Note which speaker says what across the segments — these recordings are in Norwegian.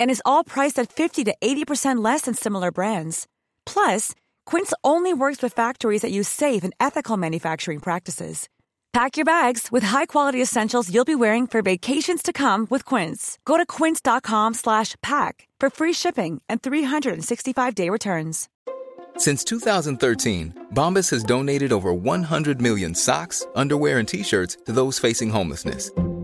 Speaker 1: And is all priced at 50 to 80% less than similar brands. Plus, Quince only works with factories that use safe and ethical manufacturing practices. Pack your bags with high-quality essentials you'll be wearing for vacations to come with Quince. Go to quince.com slash pack for free shipping and 365-day returns.
Speaker 2: Since 2013, Bombas has donated over 100 million socks, underwear, and t shirts to those facing homelessness.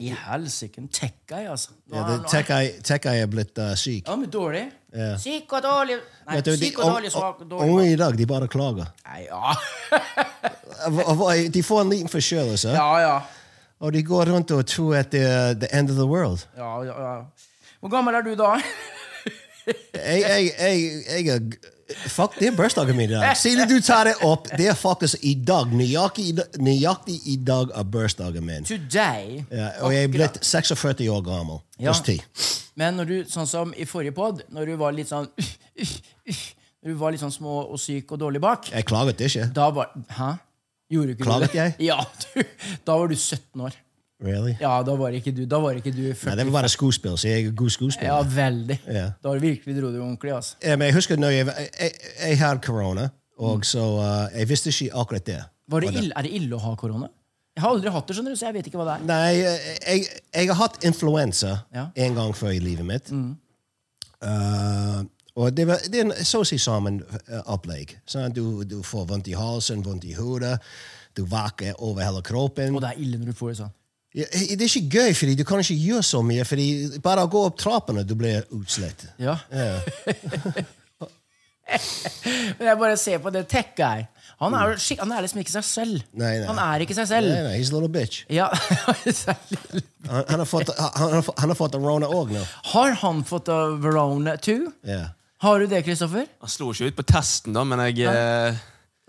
Speaker 3: I helsike, en tech-guy, altså. Nå
Speaker 4: Ja,
Speaker 3: er
Speaker 4: det-
Speaker 3: han-
Speaker 4: Tech-Eye tech Eye er blitt eh, syk.
Speaker 3: Ja, men dårlig.
Speaker 4: Ja.
Speaker 3: Syk og dårlig Nei,
Speaker 4: Vet du, de-
Speaker 3: syk og dårlig
Speaker 4: un-
Speaker 3: svak og
Speaker 4: un- Unge
Speaker 3: dårlig.
Speaker 4: i dag, de bare klager.
Speaker 3: Nei, ja.
Speaker 4: Av- av- De får en liten forkjølelse,
Speaker 3: ja, ja.
Speaker 4: og de går rundt og tror at det er the end of the world.
Speaker 3: Ja, ja, ja. Hvor gammel er du da?
Speaker 4: Jeg, jeg, jeg, jeg er g- Fuck, det er bursdagen min i dag. Siden du tar det opp, det er faktisk i dag. Nøyaktig i dag, nøyaktig i dag er bursdagen min.
Speaker 3: Today.
Speaker 4: Ja, og jeg er blitt 46 år gammel.
Speaker 3: Ja.
Speaker 4: Pluss 10.
Speaker 3: Men når du, sånn som i forrige pod, når du var litt sånn Når du var litt sånn små og syk og dårlig bak,
Speaker 4: Jeg klaget ikke.
Speaker 3: da var Hæ? Gjorde ikke
Speaker 4: Klaget
Speaker 3: du det?
Speaker 4: jeg?
Speaker 3: Ja, du, da var du 17 år.
Speaker 4: Really?
Speaker 3: Ja, da var ikke du, da var ikke du
Speaker 4: Nei,
Speaker 3: 40.
Speaker 4: det var bare skuespill, så jeg er god skuespiller.
Speaker 3: Ja, veldig.
Speaker 4: Ja.
Speaker 3: Da virkelig dro du ordentlig, altså.
Speaker 4: Eh, Men jeg husker når jeg, jeg, jeg, jeg hadde korona, og så eh, jeg visste ikke akkurat det.
Speaker 3: Var det ille, er det ille å ha korona? Jeg har aldri hatt det, skjønner du, så jeg vet ikke hva det er.
Speaker 4: Nei, eh, jeg, jeg har hatt influensa
Speaker 3: Ja. Mm.
Speaker 4: en gang før i livet mitt. Eh, og det, var, det er en så å si sammen eh, opplegg. sant? du, du får vondt i halsen, vondt i hodet, du vaker over hele kroppen.
Speaker 3: Og det er ille når du får det sånn.
Speaker 4: Ja, eh, det er ikke gøy, fordi du kan ikke gjøre så mye. fordi Bare å gå opp trappene, du blir utslett.
Speaker 3: Ja. Men jeg bare ser på det tech guy. Han er, jo skikk- han er liksom ikke seg selv.
Speaker 4: Mm. Nei, nei.
Speaker 3: Han er ikke seg selv.
Speaker 4: Nei, nei, he's a little bitch.
Speaker 3: Ja. særlig.
Speaker 4: Han, han har fått, han, har fått- han har fått rona òg nå.
Speaker 3: Har han fått av Verona 2?
Speaker 4: Ja.
Speaker 3: Har du det, Kristoffer?
Speaker 5: Han slo ikke ut på testen, da, men jeg eh,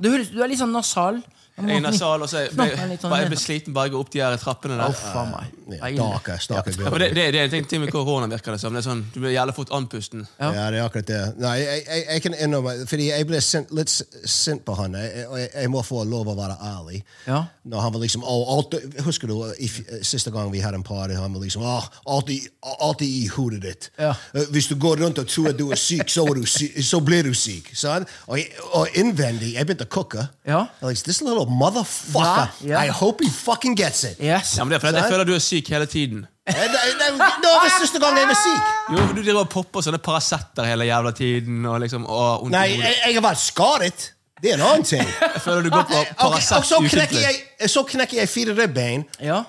Speaker 3: Du, høres- du er litt sånn nasal.
Speaker 5: Jeg er nasal, og så jeg,
Speaker 3: Snakker
Speaker 5: jeg,
Speaker 3: litt sånn
Speaker 5: jeg ble sliten bare jeg går opp de her trappene der.
Speaker 3: Uff a meg.
Speaker 4: Ja,
Speaker 3: Det er ille.
Speaker 4: Stakkar, stakkar
Speaker 5: Ja,
Speaker 4: gutt.
Speaker 5: for det, det, det er en ting, ting med korona, virker det som. Det er sånn, du blir jævlig fort andpusten.
Speaker 3: Ja.
Speaker 4: Ja, det er akkurat det. Nei, jeg, jeg, jeg kan innrømme, fordi jeg ble sint, litt s- sint på han. Jeg, jeg, jeg må få lov å være ærlig.
Speaker 3: Ja.
Speaker 4: Når han var liksom, «Å, alt, Husker du i, f- siste gang vi hadde en party? Han var liksom «Å, alt, i, alt i hodet ditt.
Speaker 3: Ja.
Speaker 4: Eh, Hvis du går rundt og tror at du er syk, så, er du syk, så blir du syk. sant? Og, jeg- og innvendig Jeg begynte å cooke.
Speaker 3: Ja.
Speaker 4: Jeg Like, This little motherfucker.
Speaker 3: Ja, ja.
Speaker 4: I hope he fucking gets it.
Speaker 3: Yes.
Speaker 5: Ja, men det er fordi at
Speaker 4: Sant?
Speaker 5: Jeg føler at du er syk hele tiden.
Speaker 4: Eh, nei, nei, Det var siste gang jeg var syk.
Speaker 5: Jo, for Du driver og popper sånne Paracet hele jævla tiden. og liksom, å, vondt i
Speaker 4: Nei,
Speaker 5: hodet.
Speaker 4: jeg, jeg har vært skadet. Det er en annen ting.
Speaker 5: Jeg føler du går på
Speaker 4: Ok, og
Speaker 5: Paracet
Speaker 4: så knekker,
Speaker 5: ukentlig.
Speaker 4: jeg, så knekker jeg fire ribbein,
Speaker 3: Ja.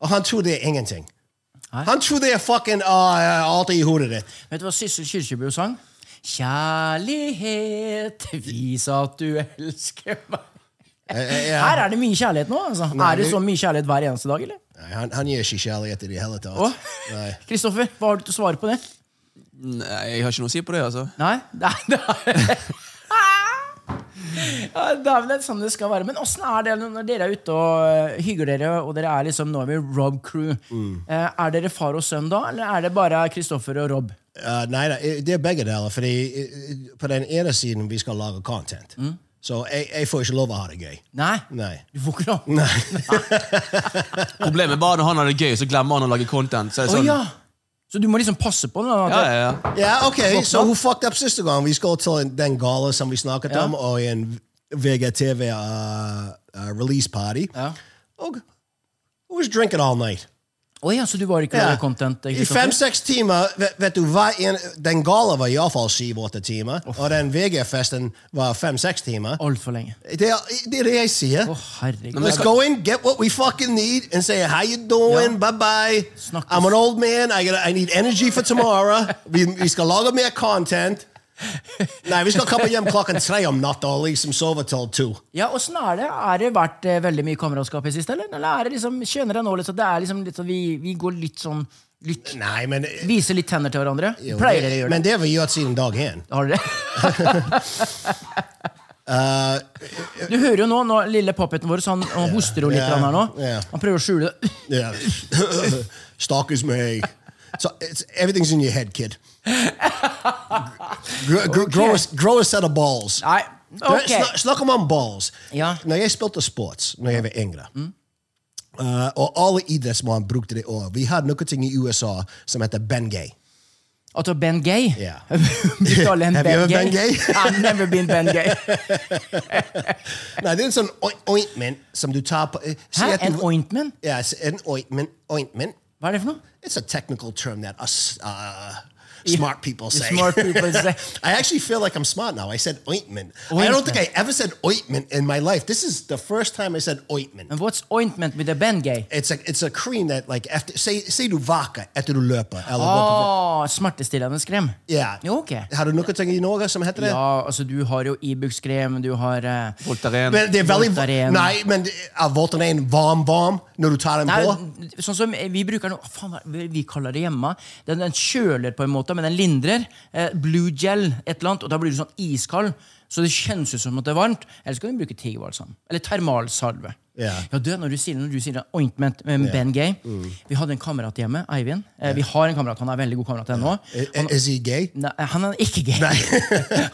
Speaker 4: og han tror det er ingenting.
Speaker 3: Nei.
Speaker 4: Han tror det er fucking ah, alt i hodet ditt.
Speaker 3: Vet du hva Syssel Kyrkjebø sang? Kjærlighet, vis at du elsker meg.
Speaker 4: Eh,
Speaker 3: Her er det mye kjærlighet nå. altså. Er det så mye kjærlighet hver eneste dag, eller?
Speaker 4: Nei, han, han gir ikke kjærlighet i det hele tatt.
Speaker 3: Åh?
Speaker 4: Nei.
Speaker 3: Kristoffer, hva har du til å svare på det?
Speaker 5: Nei, jeg har ikke noe å si på det, altså.
Speaker 3: Nei? Nei, nei. Ja, dæven, det er sånn det skal være. Men åssen er det når dere er ute og øh, hygger dere, og dere er liksom nå er vi Rob Crew? Eh, Er dere far og sønn da, eller er det bare Kristoffer og Rob?
Speaker 4: Eh, nei, nei, det er begge deler. Fordi eh, på den ene siden vi skal lage content. Så jeg, jeg får ikke lov å ha det gøy.
Speaker 3: Mm. Nei?
Speaker 4: Nei.
Speaker 3: Du får ikke lov?
Speaker 4: Nei.
Speaker 5: Problemet er bare når han har det gøy, så glemmer han å lage content. Så er det sånn,
Speaker 3: Å ja! Så du må liksom passe på den?
Speaker 5: ja, ja, ja.
Speaker 4: Ja, ok,
Speaker 3: Våkna.
Speaker 4: Så hun fucked up siste gang. Vi skal til den gala som vi snakket om, og en VGTV uh, uh, release party.
Speaker 3: Ja.
Speaker 4: Og I was drinking all night.
Speaker 3: Å ja, så du var ikke
Speaker 4: Ja.
Speaker 3: laga content?
Speaker 4: I
Speaker 3: Kristoffer?
Speaker 4: fem-seks timer. Vet, vet du, hver en, den gala var iallfall syv-åtte timer. Og den VG-festen var fem-seks timer.
Speaker 3: Altfor lenge.
Speaker 4: Det er det, er det jeg sier.
Speaker 3: Å, herregud.
Speaker 5: men-
Speaker 4: Let's go in, get what we fucking need, and say how you doing, bye bye.
Speaker 3: Snakkes.
Speaker 4: I'm an old man. I gotta, I need energy for tomorrow. vi, vi skal lage mer content. Nei, vi skal komme hjem klokken tre om natta og liksom sove til to.
Speaker 3: Ja, Åssen er det? Er det vært eh, veldig mye kameratskap i det siste, eller? Eller er det liksom, kjenner jeg nå litt at det er liksom litt sånn vi, vi går litt sånn litt,
Speaker 4: Nei, men
Speaker 3: Viser litt tenner til hverandre?
Speaker 4: jo,
Speaker 3: Pleier dere å gjøre det?
Speaker 4: Men det har vi gjort siden dag én.
Speaker 3: Har dere det? du hører jo nå, nå lille poppeten vår så han, han hoster jo litt
Speaker 4: Eh, Ja,
Speaker 3: grann her nå.
Speaker 4: ja.
Speaker 3: Han prøver å skjule det.
Speaker 4: Yeah. Stalkers me. So it's everything's in your head, kid. Gr- gr- grow, a, grow a set of balls.
Speaker 3: Nei, ok.
Speaker 4: Snak, snakk om om balls.
Speaker 3: Ja.
Speaker 4: Når jeg spilte sports når jeg var yngre,
Speaker 3: Hmm?
Speaker 4: eh, og alle idrettsmann brukte det året Vi hadde noe ting i USA som heter Bengay.
Speaker 3: At du er Ben Gay?
Speaker 4: Ja.
Speaker 3: du kaller en
Speaker 4: Have
Speaker 3: Ben
Speaker 4: you ever
Speaker 3: Gay?
Speaker 4: been gay?
Speaker 3: I've never been Ben Gay.
Speaker 4: Nei, det er en sånn oint- ointment som du tar på eh, si
Speaker 3: Hæ?
Speaker 4: at du-
Speaker 3: En ointment?
Speaker 4: Ja, s- en ointment. ointment.
Speaker 3: Hva er det for noe?
Speaker 4: It's a technical term that us uh, smart people say.
Speaker 3: Smart people say.
Speaker 4: I actually feel like I'm smart now. I said ointment. I don't think I ever said ointment in my life. This is the first time I said ointment.
Speaker 3: And what's ointment with a Ben Gay?
Speaker 4: It's a it's a cream that like after say say du vaker efter du löper eller oh.
Speaker 3: Åh, smertestillende krem.
Speaker 4: yeah.
Speaker 3: Jo, ok.
Speaker 4: Har du något i Norge som heter det?
Speaker 3: Ja, altså du har jo Ibux-krem, du har eh,
Speaker 5: Voltaren.
Speaker 4: Men det är väldigt
Speaker 3: Voltaren.
Speaker 4: nej men uh, Voltaren varm varm när du tar den
Speaker 3: Nei,
Speaker 4: på.
Speaker 3: sånn som vi bruker nå faen, hva- Vi kaller det hjemme. Den, den kjøler på en måte, men den lindrer. Eh, blue gel, et eller annet, og da blir du sånn iskald. Så det kjennes ut som at det er varmt. Eller så kan du bruke tigerbalsam. Eller termalsalve.
Speaker 4: Ja.
Speaker 3: du, når, du sier, når du sier det, ointment med Ben Gay Vi hadde en kamerat hjemme, Eivind. Eh, Vi har en kamerat, han er en veldig god kamerat ennå.
Speaker 4: I- Is er, he gay?
Speaker 3: Nei, han er ikke gay.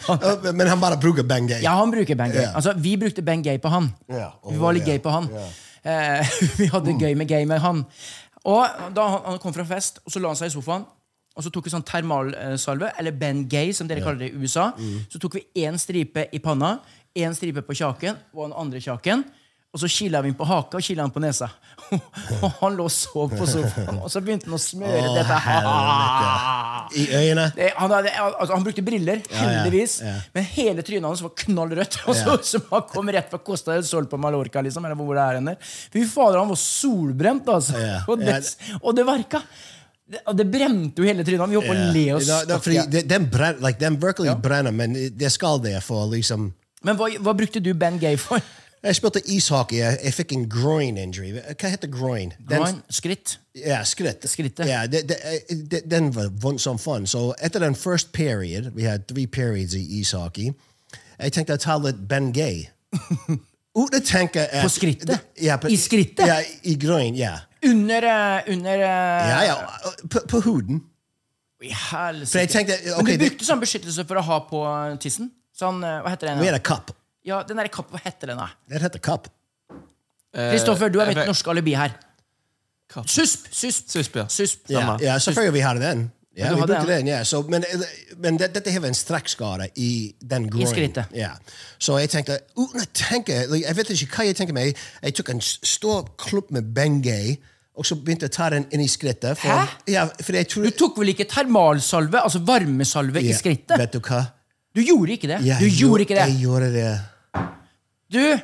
Speaker 4: Uh, Men han bara brukar Bengay.
Speaker 3: Ja, han bruker Ben Gay.
Speaker 4: Ja.
Speaker 3: Altså, vi brukte Ben Gay på han.
Speaker 4: Ja, og-
Speaker 3: vi var litt
Speaker 4: ja, Mm.
Speaker 3: gay på han. Eh, vi hadde gøy med gay med han. Og da han, han kom fra fest, og så la han seg i sofaen. Og så tok vi sånn termalsalve, eller Ben Gay, som dere kaller det i USA.
Speaker 4: Mm.
Speaker 3: Så tok vi én stripe i panna, én stripe på kjaken og den andre kjaken. Og så kila vi inn på haka og kila han på nesa. og han lå og sov på sofaen, og så begynte han å smøre
Speaker 4: Å,
Speaker 3: dette her.
Speaker 4: I ögonen.
Speaker 3: Det, han, hadde, altså, han brukte briller, heldigvis,
Speaker 4: ja.
Speaker 3: men hele trynet hans var knallrødt. Og så
Speaker 4: Ja.
Speaker 3: ut som han kom rett fra Costa del Sol på Mallorca. Liksom, eller hvor det er henne. Fy fader, han var solbrent, altså.
Speaker 4: Ja,
Speaker 3: Og, det, og det verka. Det, og det brente jo hele trynet. Han Vi holdt på å le oss.
Speaker 4: Ja, da- fordi
Speaker 3: stokke.
Speaker 4: de- den brenner, like, den virkelig brenner, men øh, det skal det for liksom
Speaker 3: Men hva, hva brukte du Ben Gay for?
Speaker 4: Jeg spilte ishockey, jeg, jeg fikk en groin injury. Hva heter groin? Den,
Speaker 3: Groin? Skritt?
Speaker 4: Ja, skritt.
Speaker 3: Skrittet.
Speaker 4: Ja, det- det- eh, det- den var vond som faen. Så etter den første period, vi hadde tre periods i ishockey, jeg tenkte jeg tar litt Ben Gay. Uten å tenke at-
Speaker 3: På skrittet?
Speaker 4: Ja, på-
Speaker 3: I skrittet?
Speaker 4: Ja, i groin, ja.
Speaker 3: Under, eh, under eh,
Speaker 4: Ja, ja, på, på huden.
Speaker 3: I helsike.
Speaker 4: For jeg tenkte,
Speaker 3: Men
Speaker 4: ok,
Speaker 3: du
Speaker 4: det-
Speaker 3: brukte sånn beskyttelse for å ha på tissen? Sånn, eh, hva heter den?
Speaker 4: Vi
Speaker 3: da?
Speaker 4: hadde kapp.
Speaker 3: Ja, den der kapp, hva heter den? da?
Speaker 4: Det heter kapp.
Speaker 3: Kristoffer, du er mitt
Speaker 5: Eh, jeg-
Speaker 3: norske alibi her. Susp! Susp!
Speaker 5: Susp, ja.
Speaker 3: susp.
Speaker 5: Stemmer.
Speaker 4: Ja, selvfølgelig vi hadde den. Ja,
Speaker 3: du
Speaker 4: vi
Speaker 3: hadde
Speaker 4: brukte
Speaker 3: den.
Speaker 4: den, ja. Så, men men det, dette her var en strekkskade i den groin.
Speaker 3: skrittet.
Speaker 4: Ja. Så oh, jeg tenkte, uten å tenke, like, jeg vet ikke hva jeg tenker meg, jeg tok en s- stor klump med Bengay, og så begynte jeg å ta den inn i skrittet. For,
Speaker 3: Hæ?
Speaker 4: Ja, for jeg tror...
Speaker 3: Du tok vel ikke termalsalve, altså varmesalve, i
Speaker 4: Ja,
Speaker 3: skrittet?
Speaker 4: Vet du hva?
Speaker 3: Du gjorde ikke det.
Speaker 4: Ja,
Speaker 3: Du
Speaker 4: jeg
Speaker 3: gjorde ikke
Speaker 4: Jeg
Speaker 3: det.
Speaker 4: gjorde det.
Speaker 3: Du,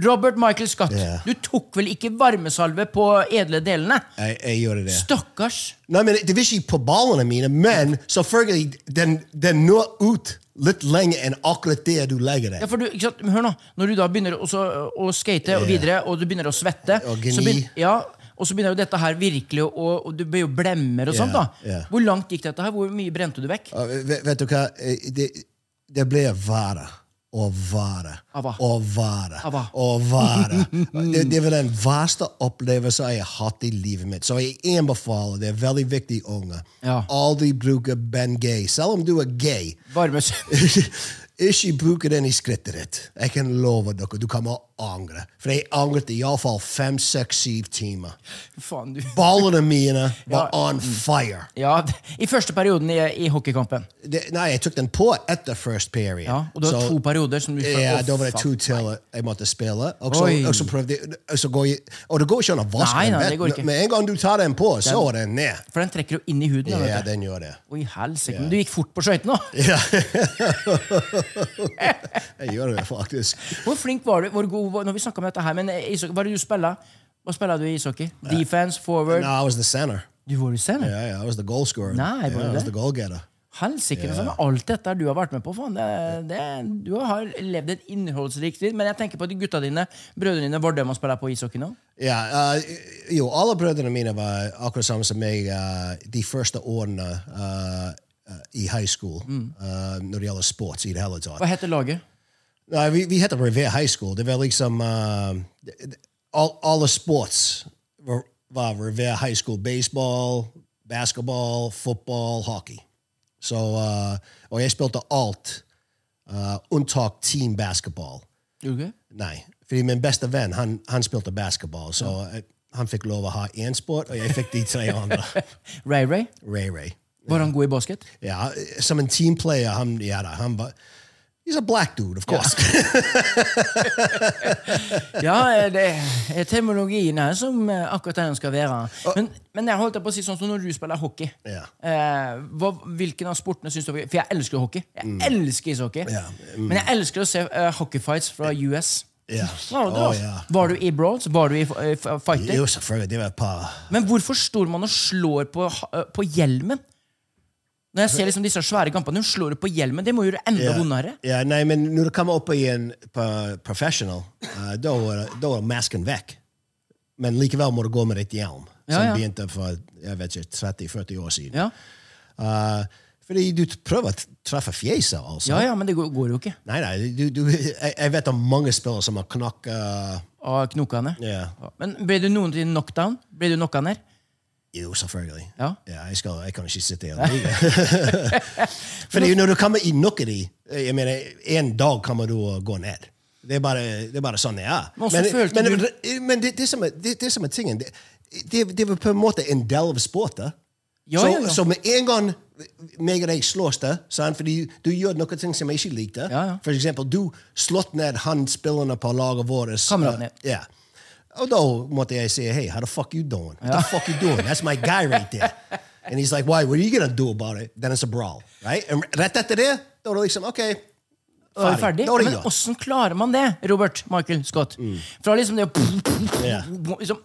Speaker 3: Robert Michael Scott,
Speaker 4: Ja.
Speaker 3: du tok vel ikke varmesalve på edle delene?
Speaker 4: Jeg, jeg gjorde det.
Speaker 3: Stakkars.
Speaker 4: Nei, men det var ikke på ballene mine, men selvfølgelig, den, den når ut litt lenger enn akkurat det du legger det.
Speaker 3: Ja, for du, ikke sant? men Hør nå. Når du da begynner også, å, å skate og videre, og du begynner å svette
Speaker 4: Og gni.
Speaker 3: så begyn- ja, og så begynner jo dette her virkelig å og Du blir jo blemmer og
Speaker 4: Ja,
Speaker 3: sånt. da
Speaker 4: ja.
Speaker 3: Hvor langt gikk dette her? Hvor mye brente du vekk?
Speaker 4: Og Vet, vet du hva? Eh, Det, det ble vare og vare
Speaker 3: Abba.
Speaker 4: og vare
Speaker 3: Abba.
Speaker 4: og vare. Det, det var den verste opplevelsen jeg har hatt i livet mitt. Så jeg anbefaler det. er Veldig viktig, unge.
Speaker 3: Ja.
Speaker 4: Aldri bruke Ben Gay. Selv om du er gay,
Speaker 3: Varmesalve.
Speaker 4: ikke bruke den i skrittet ditt. Jeg kan love dere. Du kommer angre. For jeg angret i alle fall fem, seks, syv timer.
Speaker 3: Faen, du.
Speaker 4: Ballene mine var
Speaker 3: Ja.
Speaker 4: on fire.
Speaker 3: Ja, d- I første perioden i, i hockeykampen.
Speaker 4: Det, nei, jeg tok den på etter first period.
Speaker 3: Ja, og du har
Speaker 4: Så-
Speaker 3: to perioder som du
Speaker 4: Ja, da var det
Speaker 3: Å,
Speaker 4: to
Speaker 3: fuck.
Speaker 4: til jeg måtte spille. Og
Speaker 3: Oi.
Speaker 4: så, og så prøvde jeg og så går jeg, Og det går ikke an å vaske
Speaker 3: Nei, nei, det
Speaker 4: den
Speaker 3: går ikke.
Speaker 4: vekk. Med en gang du tar den på, så er den ned.
Speaker 3: For den trekker jo inn i huden. da,
Speaker 4: Ja,
Speaker 3: vet du.
Speaker 4: den gjør det.
Speaker 3: Oi, helsike. Men du gikk fort på skøytene, da!
Speaker 4: Jeg gjør det faktisk.
Speaker 3: Hvor flink var du? Hvor god var, når vi snakket om dette her, men eh, ishockey, Hva er det du spiller? Hva spiller du i ishockey? Defense? Forward?
Speaker 4: No, I was the center.
Speaker 3: Du var jo senior.
Speaker 4: Yeah, yeah, I was the goal scorer.
Speaker 3: Nei, var
Speaker 4: yeah,
Speaker 3: du
Speaker 4: I was
Speaker 3: det?
Speaker 4: the goal getter.
Speaker 3: Helsike, sånn, alt dette du har vært med på, faen, det, det, du har levd et innholdsrikt liv. Men jeg tenker på at gutta dine, brødrene dine, var dem å spille på ishockey nå?
Speaker 4: Ja, eh, jo, alle brødrene mine var akkurat samme som meg eh, de første årene eh, eh, i high school
Speaker 3: Mm.
Speaker 4: eh, når det gjelder sports i det hele tatt.
Speaker 3: Hva heter laget?
Speaker 4: Nei, vi, vi heter Revere High School. Det var liksom eh, det- det- all, Alle sports var, var Revere High School. Baseball, basketball, fotball, hockey. Så, eh, og jeg spilte alt eh, unntak teambasketball.
Speaker 3: Gjorde du ikke?
Speaker 4: Nei. Fordi min beste venn han, han spilte basketball, så eh, han fikk lov å ha én sport, og jeg fikk de tre andre.
Speaker 3: Ray Ray?
Speaker 4: Ray Ray.
Speaker 3: Var han god i basket?
Speaker 4: Ja, eh, som en teamplayer, han, ja da, han var He's a black dude, of course.
Speaker 3: Ja, eh, det er terminologien her som eh, akkurat der den skal være. Men, men jeg holdt på å si sånn som når du spiller hockey.
Speaker 4: Ja.
Speaker 3: Eh, hva, hvilken av sportene syns du var gøy? For jeg elsker hockey. Jeg elsker ishockey.
Speaker 4: Mm. Ja, mm.
Speaker 3: Men jeg elsker å se eh, hockeyfights fra US.
Speaker 4: Ja.
Speaker 3: Ja, det
Speaker 4: Å,
Speaker 3: var-
Speaker 4: ja.
Speaker 3: Var du i brawls? Var du i eh, f- fighting?
Speaker 4: Jo, selvfølgelig. Det var et par
Speaker 3: Men hvorfor står man og slår på, eh, på hjelmen? Når jeg ser liksom disse svære kampene, hun slår det på hjelmen. Det må gjøre det enda
Speaker 4: Ja.
Speaker 3: vondere.
Speaker 4: Ja, nei, men når du kommer opp i en på professional, eh, da er det- da er masken vekk. Men likevel må du gå med ditt hjelm,
Speaker 3: Ja,
Speaker 4: som
Speaker 3: ja.
Speaker 4: begynte for jeg vet ikke, 30-40 år siden.
Speaker 3: Ja,
Speaker 4: Eh, fordi du prøver å treffe fjeset, altså.
Speaker 3: ja, ja men det går, går jo ikke.
Speaker 4: Nei, nei, du, du, jeg, jeg vet om mange spillere som har knakk eh,
Speaker 3: Av knokene.
Speaker 4: ja.
Speaker 3: Ja. Men ble du noen til knockdown? Ble du knocka ned?
Speaker 4: Jo, selvfølgelig.
Speaker 3: Ja.
Speaker 4: jeg, skal, jeg kan ikke sitte her og ligge. Fordi når du kommer i noen i jeg mener, En dag kommer du å gå ned. Det er bare, det er bare sånn det er.
Speaker 3: Men også
Speaker 4: Men,
Speaker 3: følte
Speaker 4: men,
Speaker 3: du-
Speaker 4: men det, det, som er, det, det som er tingen det, det, det var på en måte en del av sporten.
Speaker 3: Ja,
Speaker 4: så,
Speaker 3: ja, ja.
Speaker 4: så med en gang meg og deg slås det, sant? fordi du gjør noen ting som jeg ikke likte
Speaker 3: Ja, ja.
Speaker 4: For eksempel, du slått ned han spillende på laget vårt.
Speaker 3: Kameraten din.
Speaker 4: eh, Ja. Oh, Og da måtte jeg si, hey, how the fuck you doing? What the fuck you doing? That's my guy right there. And he's like, why, what are you gonna do about it? Then it's a brawl, right? And rett etter det, da var det liksom, ok,
Speaker 3: Da er vi ferdig.
Speaker 4: Da er det
Speaker 3: Men
Speaker 4: gjort.
Speaker 3: åssen klarer man det, Robert Michael Scott? Fra liksom det å
Speaker 4: Ja.
Speaker 3: liksom,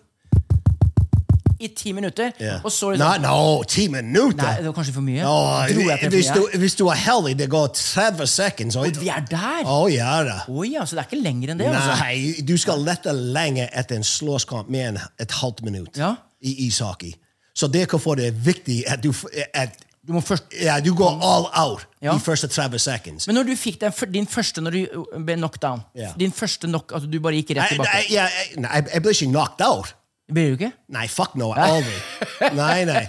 Speaker 3: I ti minutter,
Speaker 4: Yeah.
Speaker 3: og så
Speaker 4: Nei,
Speaker 3: liksom
Speaker 4: no, ti
Speaker 3: Nei,
Speaker 4: minutter!
Speaker 3: det var kanskje for mye.
Speaker 4: Åh,
Speaker 3: Dro jeg til
Speaker 4: hvis,
Speaker 3: for
Speaker 4: du,
Speaker 3: mye?
Speaker 4: hvis du er heldig, det går 30 sekunder.
Speaker 3: Og vi er der! Å
Speaker 4: Å ja da.
Speaker 3: ja, så det er ikke lenger enn det. altså.
Speaker 4: Nei, du skal lette lenge etter en slåsskamp med en, et halvt minutt
Speaker 3: Ja.
Speaker 4: i ishockey. Så det kan få det viktig at du, f- at,
Speaker 3: Du må først
Speaker 4: ja, du går all out
Speaker 3: Ja.
Speaker 4: i første 30 seconds.
Speaker 3: Men når du fikk den, før- din første når du eh, ble knocked down
Speaker 4: Ja.
Speaker 3: Din første knock, altså du bare gikk rett
Speaker 4: I, I,
Speaker 3: tilbake?
Speaker 4: yeah, I, no, I, I believe she knocked out.
Speaker 3: Ble du ikke?
Speaker 4: Nei, fuck no, aldri. nei, nei.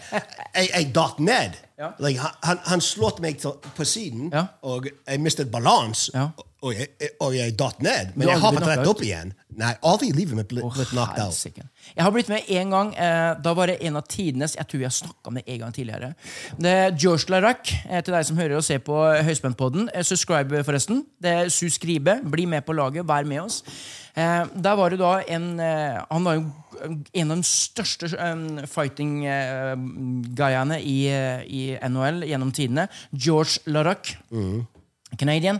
Speaker 4: Jeg, jeg datt ned. Like, han- han, han slått meg til, på siden,
Speaker 3: Ja.
Speaker 4: og jeg mistet balans.
Speaker 3: Ja.
Speaker 4: Og jeg, jeg- og jeg datt ned,
Speaker 3: Du
Speaker 4: men
Speaker 3: har
Speaker 4: jeg
Speaker 3: aldri
Speaker 4: hoppet
Speaker 3: blitt
Speaker 4: rett
Speaker 3: knockout?
Speaker 4: opp igjen. Nei, aldri i livet mitt ble ble knocked out.
Speaker 3: Helsike. Jeg har blitt med én gang. Eh, da var det en av tidenes Jeg tror vi har snakka om det en gang tidligere. Det er George Larac, eh, til deg som hører og ser på Høyspentpodden. Eh, subscribe, forresten. Det er Sus Gribe. Bli med på laget. Vær med oss. Eh, der var det da en eh, Han var jo en av de største eh, fighting-guyene i, eh, i NHL gjennom tidene. George Larac. Canadian.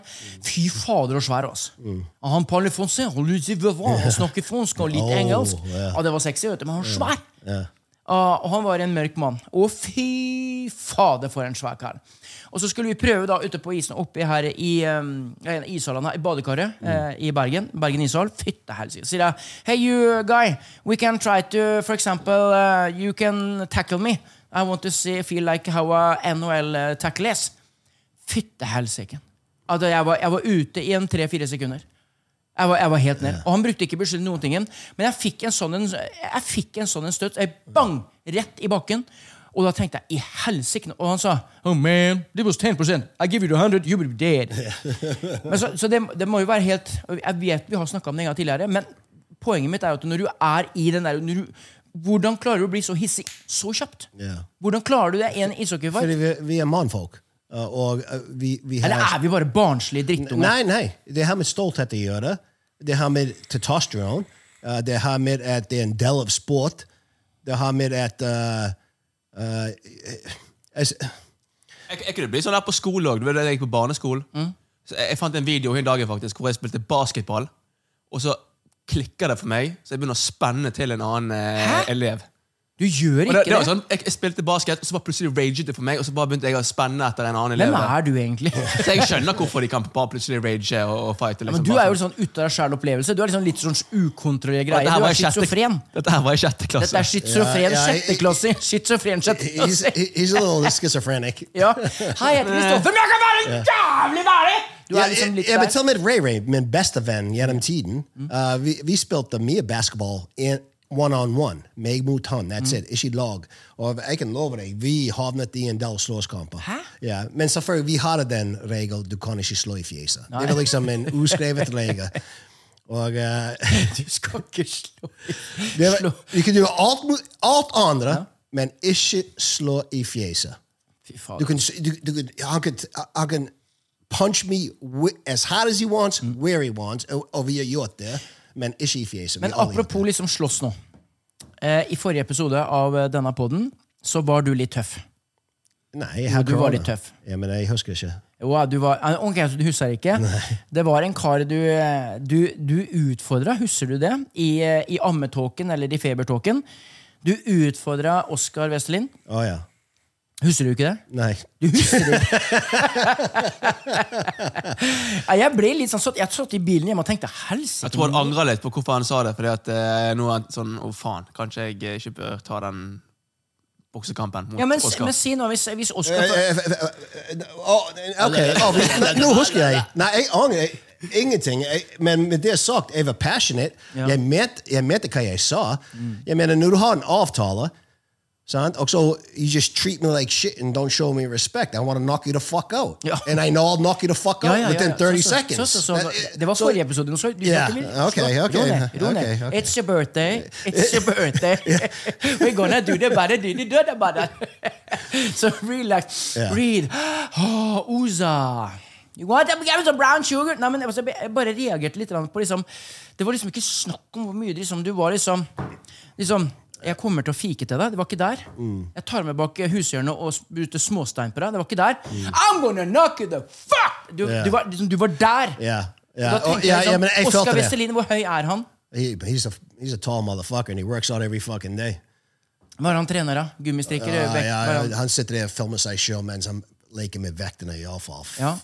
Speaker 3: Fy fader og svær, altså. Og Han parler fransé, han lyser vivant, han snakker fransk og litt
Speaker 4: Oh,
Speaker 3: engelsk.
Speaker 4: ja.
Speaker 3: Ja, det var sexy, vet du, men han var svær! Ah, og han var en mørk mann. Å, fy fader, for en svær kar. Og så skulle vi prøve da ute på isen oppe her i um, ishallen her, i badekaret eh, i Bergen. Bergen ishall. Fytte helsike. Sier jeg, hey you guy, we can try to, for example, uh, you can tackle me. I want to see, feel like how a NHL uh, tackle is. Fytte helsike. Altså, jeg, var- jeg var ute i en tre-fire sekunder. Jeg var, jeg var helt ned. Og han brukte ikke beskyld noen ting. Men jeg fikk en sånn en, jeg fikk en sånn en støt. Jeg bang! Rett i bakken. Og da tenkte jeg i helsike Og han sa Oh man, det was 10 I give you the 100, you will be dead. men så så det, det må jo være helt og Jeg vet vi har snakka om det en gang tidligere, men poenget mitt er jo at når du er i den der når du, Hvordan klarer du å bli så hissig så kjapt?
Speaker 4: Ja.
Speaker 3: Hvordan klarer du det i en ishockeyfight?
Speaker 4: Fordi vi, vi er mannfolk. eh, Og eh, vi, vi har
Speaker 3: Eller er vi bare barnslige drittunger?
Speaker 4: Nei, nei. Det har med stolthet å gjøre. Det har med testosteron. eh, det har med at det er en del av sport. Det har med at eh, eh, altså,
Speaker 5: Jeg, jeg kunne bli sånn der på skole òg. Jeg gikk på barneskolen.
Speaker 3: Mm.
Speaker 5: Så jeg, jeg fant en video hele dagen faktisk, hvor jeg spilte basketball, og så klikker det for meg, så jeg begynner å spenne til en annen eh, elev.
Speaker 3: Du gjør
Speaker 5: Og det,
Speaker 3: ikke
Speaker 5: det
Speaker 3: det.
Speaker 5: var sånn, jeg, jeg spilte basket, og så bare plutselig raget det for meg, og så bare begynte jeg å spenne etter en annen elev.
Speaker 3: Hvem
Speaker 5: der.
Speaker 3: er du egentlig? Ja,
Speaker 5: Så jeg skjønner hvorfor de kan bare plutselig rage og, og fighte. Liksom,
Speaker 3: men du
Speaker 5: bare
Speaker 3: er jo
Speaker 5: sånn.
Speaker 3: sånn ute av deg sjæl-opplevelse. Du er liksom litt sånn ukontrollert
Speaker 5: Dette
Speaker 3: greie.
Speaker 5: her
Speaker 3: Du
Speaker 5: var Altså,
Speaker 3: er
Speaker 5: i sjette-
Speaker 3: schizofren.
Speaker 5: Dette her var i sjette klasse.
Speaker 3: Dette er schizofren
Speaker 4: Ja, ja, jeg-
Speaker 3: sjetteklassing. Schizofren
Speaker 4: he's,
Speaker 3: sjetteklassing.
Speaker 4: he's a little schizophrenic.
Speaker 3: Ja. Hei, jeg heter Kristoffer, men jeg kan være en jævlig værlig! Du
Speaker 4: Ja,
Speaker 3: er liksom litt
Speaker 4: ja, men til
Speaker 3: der.
Speaker 4: og med Ray Ray, min beste venn gjennom tiden, eh, vi, vi spilte mye basketball in- one-on-one. Meg mot han, that's it. Ikke lag. Og jeg kan love deg, vi havnet i en del slåsskamper. Ja, men selvfølgelig, vi hadde den regel du kan ikke slå i fjeset. Det var liksom en uskrevet regel. Og eh,
Speaker 5: sånn-
Speaker 3: Du skal ikke slå
Speaker 4: det var,
Speaker 3: Slå.
Speaker 4: du kan gjøre alt, mot- alt andre, men ikke slå i fjeset.
Speaker 3: Fy
Speaker 4: You
Speaker 3: faen.
Speaker 4: can, you, you can, I could, I can punch me wi- as hard as he wants,
Speaker 3: Mm.
Speaker 4: where he wants, o- over your yacht there. Men ikke i fjeset.
Speaker 3: Men
Speaker 4: vi alle gjør
Speaker 3: apropos liksom slåss nå. Eh, I forrige episode av eh, denne poden så var du litt tøff.
Speaker 4: det. Nei, jeg har
Speaker 3: du var
Speaker 4: korona.
Speaker 3: litt tøff.
Speaker 4: Ja, men jeg husker ikke.
Speaker 3: Wow, du var, eh, ok, så du husker ikke. Det var en kar du, eh, du, du utfordra, husker du det? I, eh, i ammetåken eller i febertåken. Du utfordra Oskar Vestelin.
Speaker 4: Å ja.
Speaker 3: Husker du ikke det?
Speaker 4: Nei.
Speaker 3: Du husker det? Nei, jeg ble litt sånn satt, Jeg satt i bilen hjemme og tenkte helsike.
Speaker 5: Jeg tror han angrer litt på hvorfor han sa det. Fordi at eh, nå er han sånn Å, faen, kanskje jeg eh, ikke bør ta den boksekampen mot
Speaker 3: Ja, men,
Speaker 5: Oskar.
Speaker 3: men si nå hvis, hvis
Speaker 4: Eh,
Speaker 3: Oskar tar-
Speaker 4: eh, eh, eh, å, ok, å, vi- nei, nå husker jeg. Nei, jeg angrer ingenting. Jeg, men med det sagt, jeg var passionate. Jeg, mente, jeg mente hva jeg sa. Jeg mener, når du har en avtale sant? Og så you just treat me like shit and don't show me respect. I want to knock you the fuck out.
Speaker 3: Ja.
Speaker 4: And I know I'll knock you the fuck out
Speaker 3: Ja, ja, ja, ja.
Speaker 4: within 30
Speaker 3: Så, så,
Speaker 4: seconds. Eh,
Speaker 3: Så, så, så,
Speaker 4: That-
Speaker 3: det var
Speaker 4: so-
Speaker 3: forrige episode. Nå så- Du
Speaker 4: Ja,
Speaker 3: snakker vel-
Speaker 4: ok,
Speaker 3: slå-
Speaker 4: ok,
Speaker 3: Ro ned. ro ned.
Speaker 4: ok, ok.
Speaker 3: It's your birthday. It's your birthday. We're gonna do the better, do the good about that. so relax.
Speaker 4: Ja.
Speaker 3: Breathe. Oh, Oza. You want to get some brown sugar? Nei, men altså, jeg bare reagerte litt grann på liksom, Det var liksom ikke snakk om hvor mye liksom, du var liksom, liksom Jeg kommer til å fike til deg. Det var ikke der.
Speaker 4: Mm.
Speaker 3: Jeg tar meg bak hushjørnet og spruter småstein på deg. Det var ikke der. I'm gonna knock you the fuck! Du,
Speaker 4: Ja.
Speaker 3: du, var, liksom, du var der.
Speaker 4: Ja, ja.
Speaker 3: Da
Speaker 4: Og-
Speaker 3: tenkte
Speaker 4: ja,
Speaker 3: jeg
Speaker 4: ja,
Speaker 3: sånn,
Speaker 4: Oh, men jeg
Speaker 3: Oskar
Speaker 4: følte det.
Speaker 3: Vestelin, hvor høy er han?
Speaker 4: He, he's, a, he's a tall motherfucker and he works out every fucking day.
Speaker 3: Hva er han trener av? Gummistrikker?
Speaker 4: Ja,
Speaker 3: vekt, hva er
Speaker 4: ja,
Speaker 3: han?
Speaker 4: han sitter der og filmer seg sjøl mens han leker med vektene, iallfall.
Speaker 3: Ja.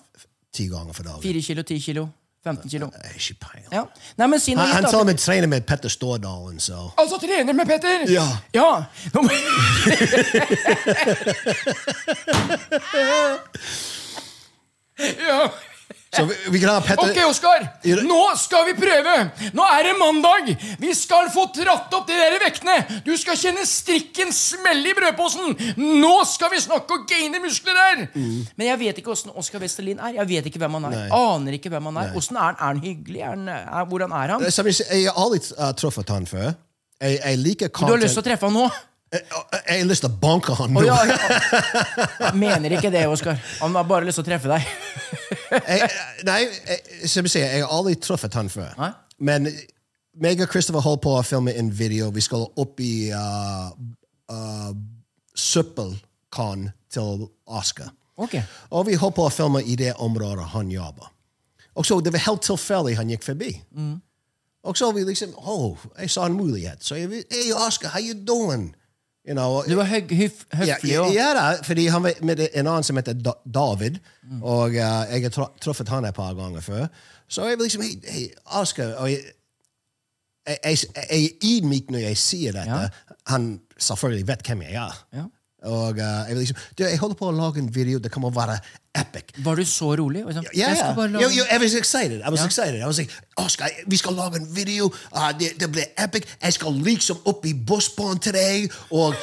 Speaker 4: Ti ganger for dagen.
Speaker 3: Fire kilo, ti kilo, 15 kilo.
Speaker 4: Det er ikke peiling.
Speaker 3: Ja. Nei, men si noe
Speaker 4: Han, han
Speaker 3: litt,
Speaker 4: til og
Speaker 3: da.
Speaker 4: med trener med Petter Stordalen, så
Speaker 3: Altså trener med Petter!
Speaker 4: Ja.
Speaker 3: ja. Nå må- ja.
Speaker 4: Så vi, vi kan ha Petter
Speaker 3: Ok, Oskar. Nå skal vi prøve. Nå er det mandag. Vi skal få tratt opp de der vektene. Du skal kjenne strikken smelle i brødposen. Nå skal vi snakke og gaine muskler der. Men jeg vet ikke åssen Oskar Westerlin er. Jeg vet ikke hvem han er. Aner ikke hvem han er. Hvordan er han? Er han hyggelig? Er han, eh, er, hvordan er han?
Speaker 4: Som jeg sier, jeg har aldri uh, truffet han før. Jeg, jeg liker
Speaker 3: Du har lyst til
Speaker 4: content.
Speaker 3: å treffe han nå?
Speaker 4: Jeg, jeg har lyst til å banke han nå.
Speaker 3: Å, ja, ja. Mener ikke det, Oskar. Han har bare lyst til å treffe deg.
Speaker 4: jeg, eh, nei, jeg, som jeg sier, jeg har aldri truffet han før.
Speaker 3: Nei?
Speaker 4: Men meg og Christopher holdt på å filme en video. Vi skal opp i uh, uh, søppelkan til Oscar.
Speaker 3: Ok.
Speaker 4: Og vi holdt på å filme i det området han jobber. Og så det var helt tilfeldig han gikk forbi. Og så vi liksom oh, jeg sa en mulighet. Så er jeg Hey, Oscar, how you doing? You know,
Speaker 3: Du var høg, hyf,
Speaker 4: ja,
Speaker 3: høflig
Speaker 4: ja,
Speaker 3: og
Speaker 4: ja da, fordi han var med en annen som heter Da- David, og eh, jeg har tra- truffet han et par ganger før. Så jeg var liksom Hei, hey, Oscar. Og jeg, jeg, jeg, jeg er ydmyk når jeg sier dette. Han selvfølgelig vet hvem jeg er. Og eh, jeg, vil liksom, du, jeg holder på å lage en video. Det kommer å være epic.
Speaker 3: Var du så rolig? Og sånn,
Speaker 4: Ja,
Speaker 3: jeg skal
Speaker 4: ja.
Speaker 3: bare lage-
Speaker 4: Yo, yo, I was excited. I was
Speaker 3: Ja.
Speaker 4: excited. I was like, Oscar, vi skal lage en video. Ah, det, det blir epic. Jeg skal liksom opp i bussbanen til deg. Og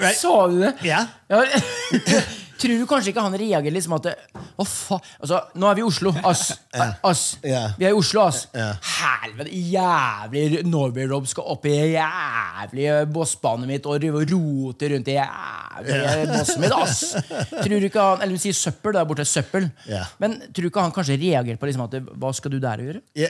Speaker 4: right?
Speaker 3: Sa du det?
Speaker 4: Ja.
Speaker 3: Tror du kanskje ikke han reagerer liksom at det- Å, faen. Altså, nå er vi i Oslo, ass. ass.
Speaker 4: Ja.
Speaker 3: Vi er i Oslo, ass. Helvete, jævlig Norway Rob skal opp i jævlig bossbanet mitt og drive og rote rundt i jævlig bosset mitt, ass. Tror du ikke han Eller hun sier søppel der borte. Søppel.
Speaker 4: Ja.
Speaker 3: Men tror du ikke han kanskje reagerer på liksom at det- Hva skal du der og gjøre?
Speaker 4: Ja,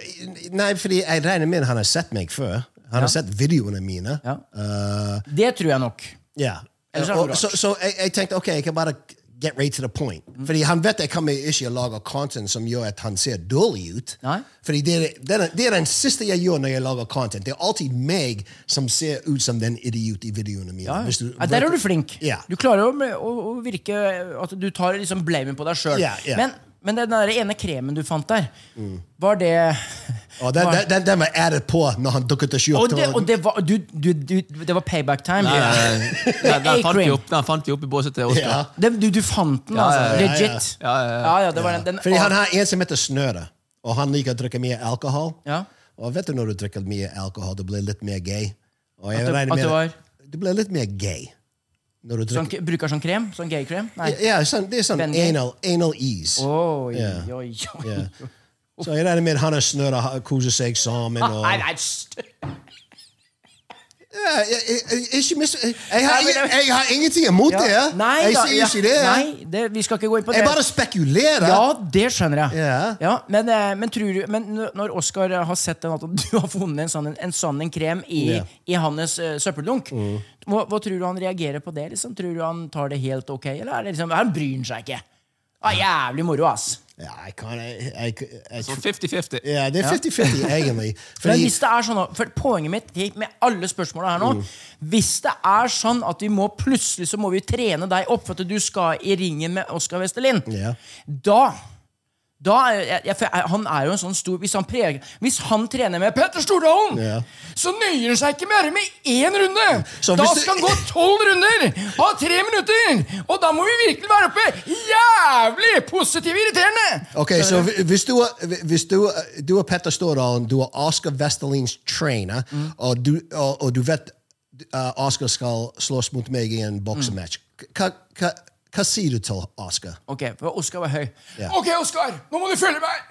Speaker 4: nei, fordi jeg regner med han har sett meg før. Han har sett videoene mine.
Speaker 3: Ja.
Speaker 4: Eh,
Speaker 3: Det tror jeg nok.
Speaker 4: ja.
Speaker 3: Ellers er det
Speaker 4: Og,
Speaker 3: rart.
Speaker 4: så så jeg, jeg tenkte ok, jeg kan bare get right to the point.
Speaker 3: Mm.
Speaker 4: Fordi han vet jeg kommer ikke å lage content som gjør at han ser dårlig ut.
Speaker 3: Nei.
Speaker 4: Fordi det er, det, er, det er den siste jeg gjør når jeg lager content. Det er alltid meg som ser ut som den idiot i videoene mine.
Speaker 3: Ja.
Speaker 4: Hvis du-
Speaker 3: ja, der er du flink.
Speaker 4: Ja.
Speaker 3: Du klarer å, å, å virke At du tar liksom blamen på deg sjøl.
Speaker 4: Ja, ja.
Speaker 3: Men, men den der ene kremen du fant der, var det
Speaker 4: Mm. Og den, den, den, den var added på når han dukket ikke opp.
Speaker 3: Og det, og det var du, du, du, Det var payback time.
Speaker 5: Nei, nei, nei. Den, den, eh, fant vi
Speaker 3: A-cream.
Speaker 5: opp, den fant vi opp i båset til Oskar.
Speaker 4: Ja.
Speaker 3: Det, du, du fant den, altså.
Speaker 5: ja, ja, ja.
Speaker 3: Legit.
Speaker 5: Ja, ja, ja.
Speaker 3: det var den, den
Speaker 4: Fordi han har en som heter Snøre, og han liker å drikke mye alkohol.
Speaker 3: Ja.
Speaker 4: Og vet du når du drikker mye alkohol, du blir litt mer gay. Og jeg
Speaker 3: At du-
Speaker 4: regner
Speaker 3: at
Speaker 4: med
Speaker 3: du var-
Speaker 4: Du blir litt mer gay når du
Speaker 3: sånn,
Speaker 4: drikker
Speaker 3: Bruker sånn krem? Sånn gay-krem? Nei.
Speaker 4: Ja, sånn, det er sånn
Speaker 3: Bendy.
Speaker 4: anal, anal ease.
Speaker 3: Oi,
Speaker 4: Ja.
Speaker 3: oi, oi.
Speaker 4: Ja. Så jeg regner med han og Snøre har- koser seg sammen. Og,
Speaker 3: Nei, nei, st-
Speaker 4: Ja, jeg, jeg, jeg, ikke mis- jeg, jeg,
Speaker 3: Nei, men
Speaker 4: har,
Speaker 3: det-
Speaker 4: jeg har ingenting imot det.
Speaker 3: Ja. Nei,
Speaker 4: jeg
Speaker 3: da,
Speaker 4: sier
Speaker 3: ja.
Speaker 4: ikke det.
Speaker 3: Nei, det, vi skal ikke gå inn på det.
Speaker 4: Jeg bare spekulerer.
Speaker 3: Ja, det skjønner jeg.
Speaker 4: Ja.
Speaker 3: men, eh, men, tror du, men n- når Oskar har sett den, at du har funnet en sånn, en sånn en krem i,
Speaker 4: Ja. Mm.
Speaker 3: i hans eh, søppeldunk, hva, hva tror du han reagerer på det? Liksom? Tror du han tar det helt ok, eller er det liksom, han bryr han seg ikke? Ah, jævlig moro, ass.
Speaker 4: Ja, jeg kan, jeg, jeg, jeg,
Speaker 5: Så 50-50.
Speaker 4: ja, det er 50-50, egentlig.
Speaker 3: Men
Speaker 4: Fordi-
Speaker 3: hvis det er sånn, at- for Poenget mitt til- med alle spørsmåla her nå
Speaker 4: Mm.
Speaker 3: Hvis det er sånn at vi må plutselig så må vi trene deg opp for at du skal i ringen med Oskar Westerlin,
Speaker 4: Ja.
Speaker 3: da da er, jeg, jeg, for jeg, han er jo en sånn stor Hvis han, preger, hvis han trener med Petter Stordalen,
Speaker 4: Ja.
Speaker 3: så nøyer han seg ikke bare med én runde!
Speaker 4: Så
Speaker 3: da
Speaker 4: hvis du-
Speaker 3: skal han gå tolv runder! Ha tre minutter! Og da må vi virkelig være oppe! Jævlig positive irriterende!
Speaker 4: Ok, så hvi- hvis du er, hvis du er, du er Petter Stordalen, du er Oscar Vestalins trainer, og, du, og, og du vet uh, Oscar skal slåss mot meg i en boksematch, hva, hva, hva sier du til Oscar?
Speaker 3: Ok, for Oskar var høy.
Speaker 4: Ja.
Speaker 3: Ok, Oskar, nå må du følge meg!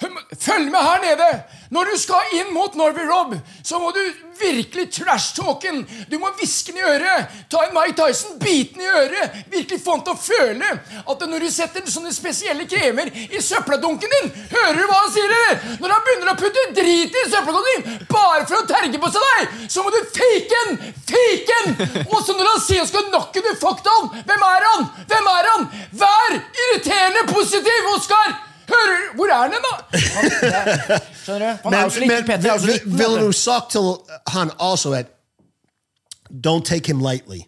Speaker 3: Hum- Følg med her nede! Når du skal inn mot Norby Rob, så må du virkelig trash-talken. Du må hviske den i øret. Ta en Mike Tyson, bite den i øret. Virkelig få han til å føle at når du setter sånne spesielle kremer i søppeldunken din, hører du hva han sier? eller? Når han begynner å putte drit i søppeldunken din bare for å terge på seg deg, så må du fake den! Fake den! Og så når han sier han skal knocke du fuck down, hvem er han? Hvem er han? Vær irriterende positiv, Oskar! Hører du? Hvor er han hen, da? Skjønner du? Han er jo så liten, Petter. er jo så liten,
Speaker 4: vil
Speaker 3: vet du.
Speaker 4: du sagt til uh, han også at Don't take him lightly.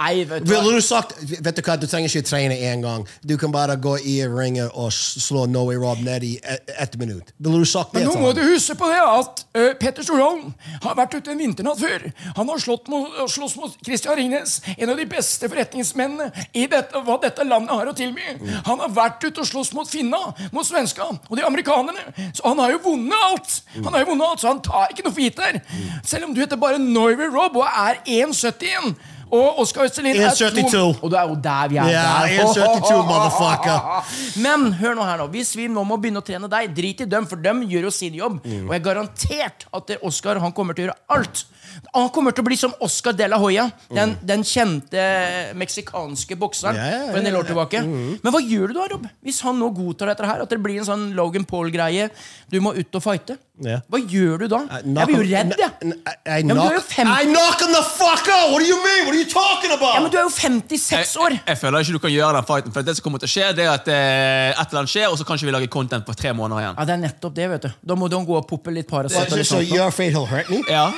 Speaker 3: Nei, vet du.
Speaker 4: Vil
Speaker 3: hva.
Speaker 4: du sagt, vet du hva, du trenger ikke trene en gang. Du kan bare gå i ringen og s- slå Noe Rob ned i ett et minutt. Vil du sagt det
Speaker 3: Men nå
Speaker 4: til
Speaker 3: må
Speaker 4: han?
Speaker 3: du huske på det at eh, Petter Stordalen har vært ute en vinternatt før. Han har slått mot, slåss mot Christian Ringnes, en av de beste forretningsmennene i dette, hva dette landet har å tilby. Han har vært ute og slåss mot finna, mot svenska og de amerikanerne. Så han har jo vunnet alt! Han har jo vunnet alt, Så han tar ikke noe for gitt der. Selv om du heter bare Norway Rob og er 1,71. Og Oskar Østerlin er
Speaker 4: 1,72.
Speaker 3: to- Og det er jo der vi er.
Speaker 4: Ja,
Speaker 3: der.
Speaker 4: 1,72, motherfucker.
Speaker 3: Men hør nå her nå hvis vi nå må begynne å trene deg, drit i dem, for dem gjør jo sin jobb.
Speaker 4: Mm.
Speaker 3: Og jeg er garantert at Oskar kommer til å gjøre alt. Han kommer til å bli som Oscar de la Hoya, den, den kjente meksikanske bokseren
Speaker 4: Mm. Ja, ja, Mm. ja,
Speaker 3: for en del år tilbake. Men hva gjør du da, Rob? Hvis han nå godtar dette her, at det blir en sånn Logan Paul-greie, du må ut og fighte,
Speaker 4: Ja.
Speaker 3: hva gjør du da? Jeg blir Er jo redd, jeg.
Speaker 4: Uh, N- n- I- I
Speaker 3: men du
Speaker 4: knock-
Speaker 3: er jo 50.
Speaker 4: I knock him the fuck out! What do you mean? What are you talking about?
Speaker 3: Ja, men du er jo 56 år!
Speaker 5: Jeg, jeg føler ikke du kan gjøre den fighten. For det som kommer til å skje, det er at eh, et eller annet skjer, og så kan ikke vi lage content på tre måneder igjen.
Speaker 3: Ja, Det er nettopp det, vet du. Da må de gå og poppe litt Paracet.
Speaker 4: So-
Speaker 3: og litt
Speaker 4: so
Speaker 3: sånt.
Speaker 4: you're afraid he'll hurt me?
Speaker 5: Ja.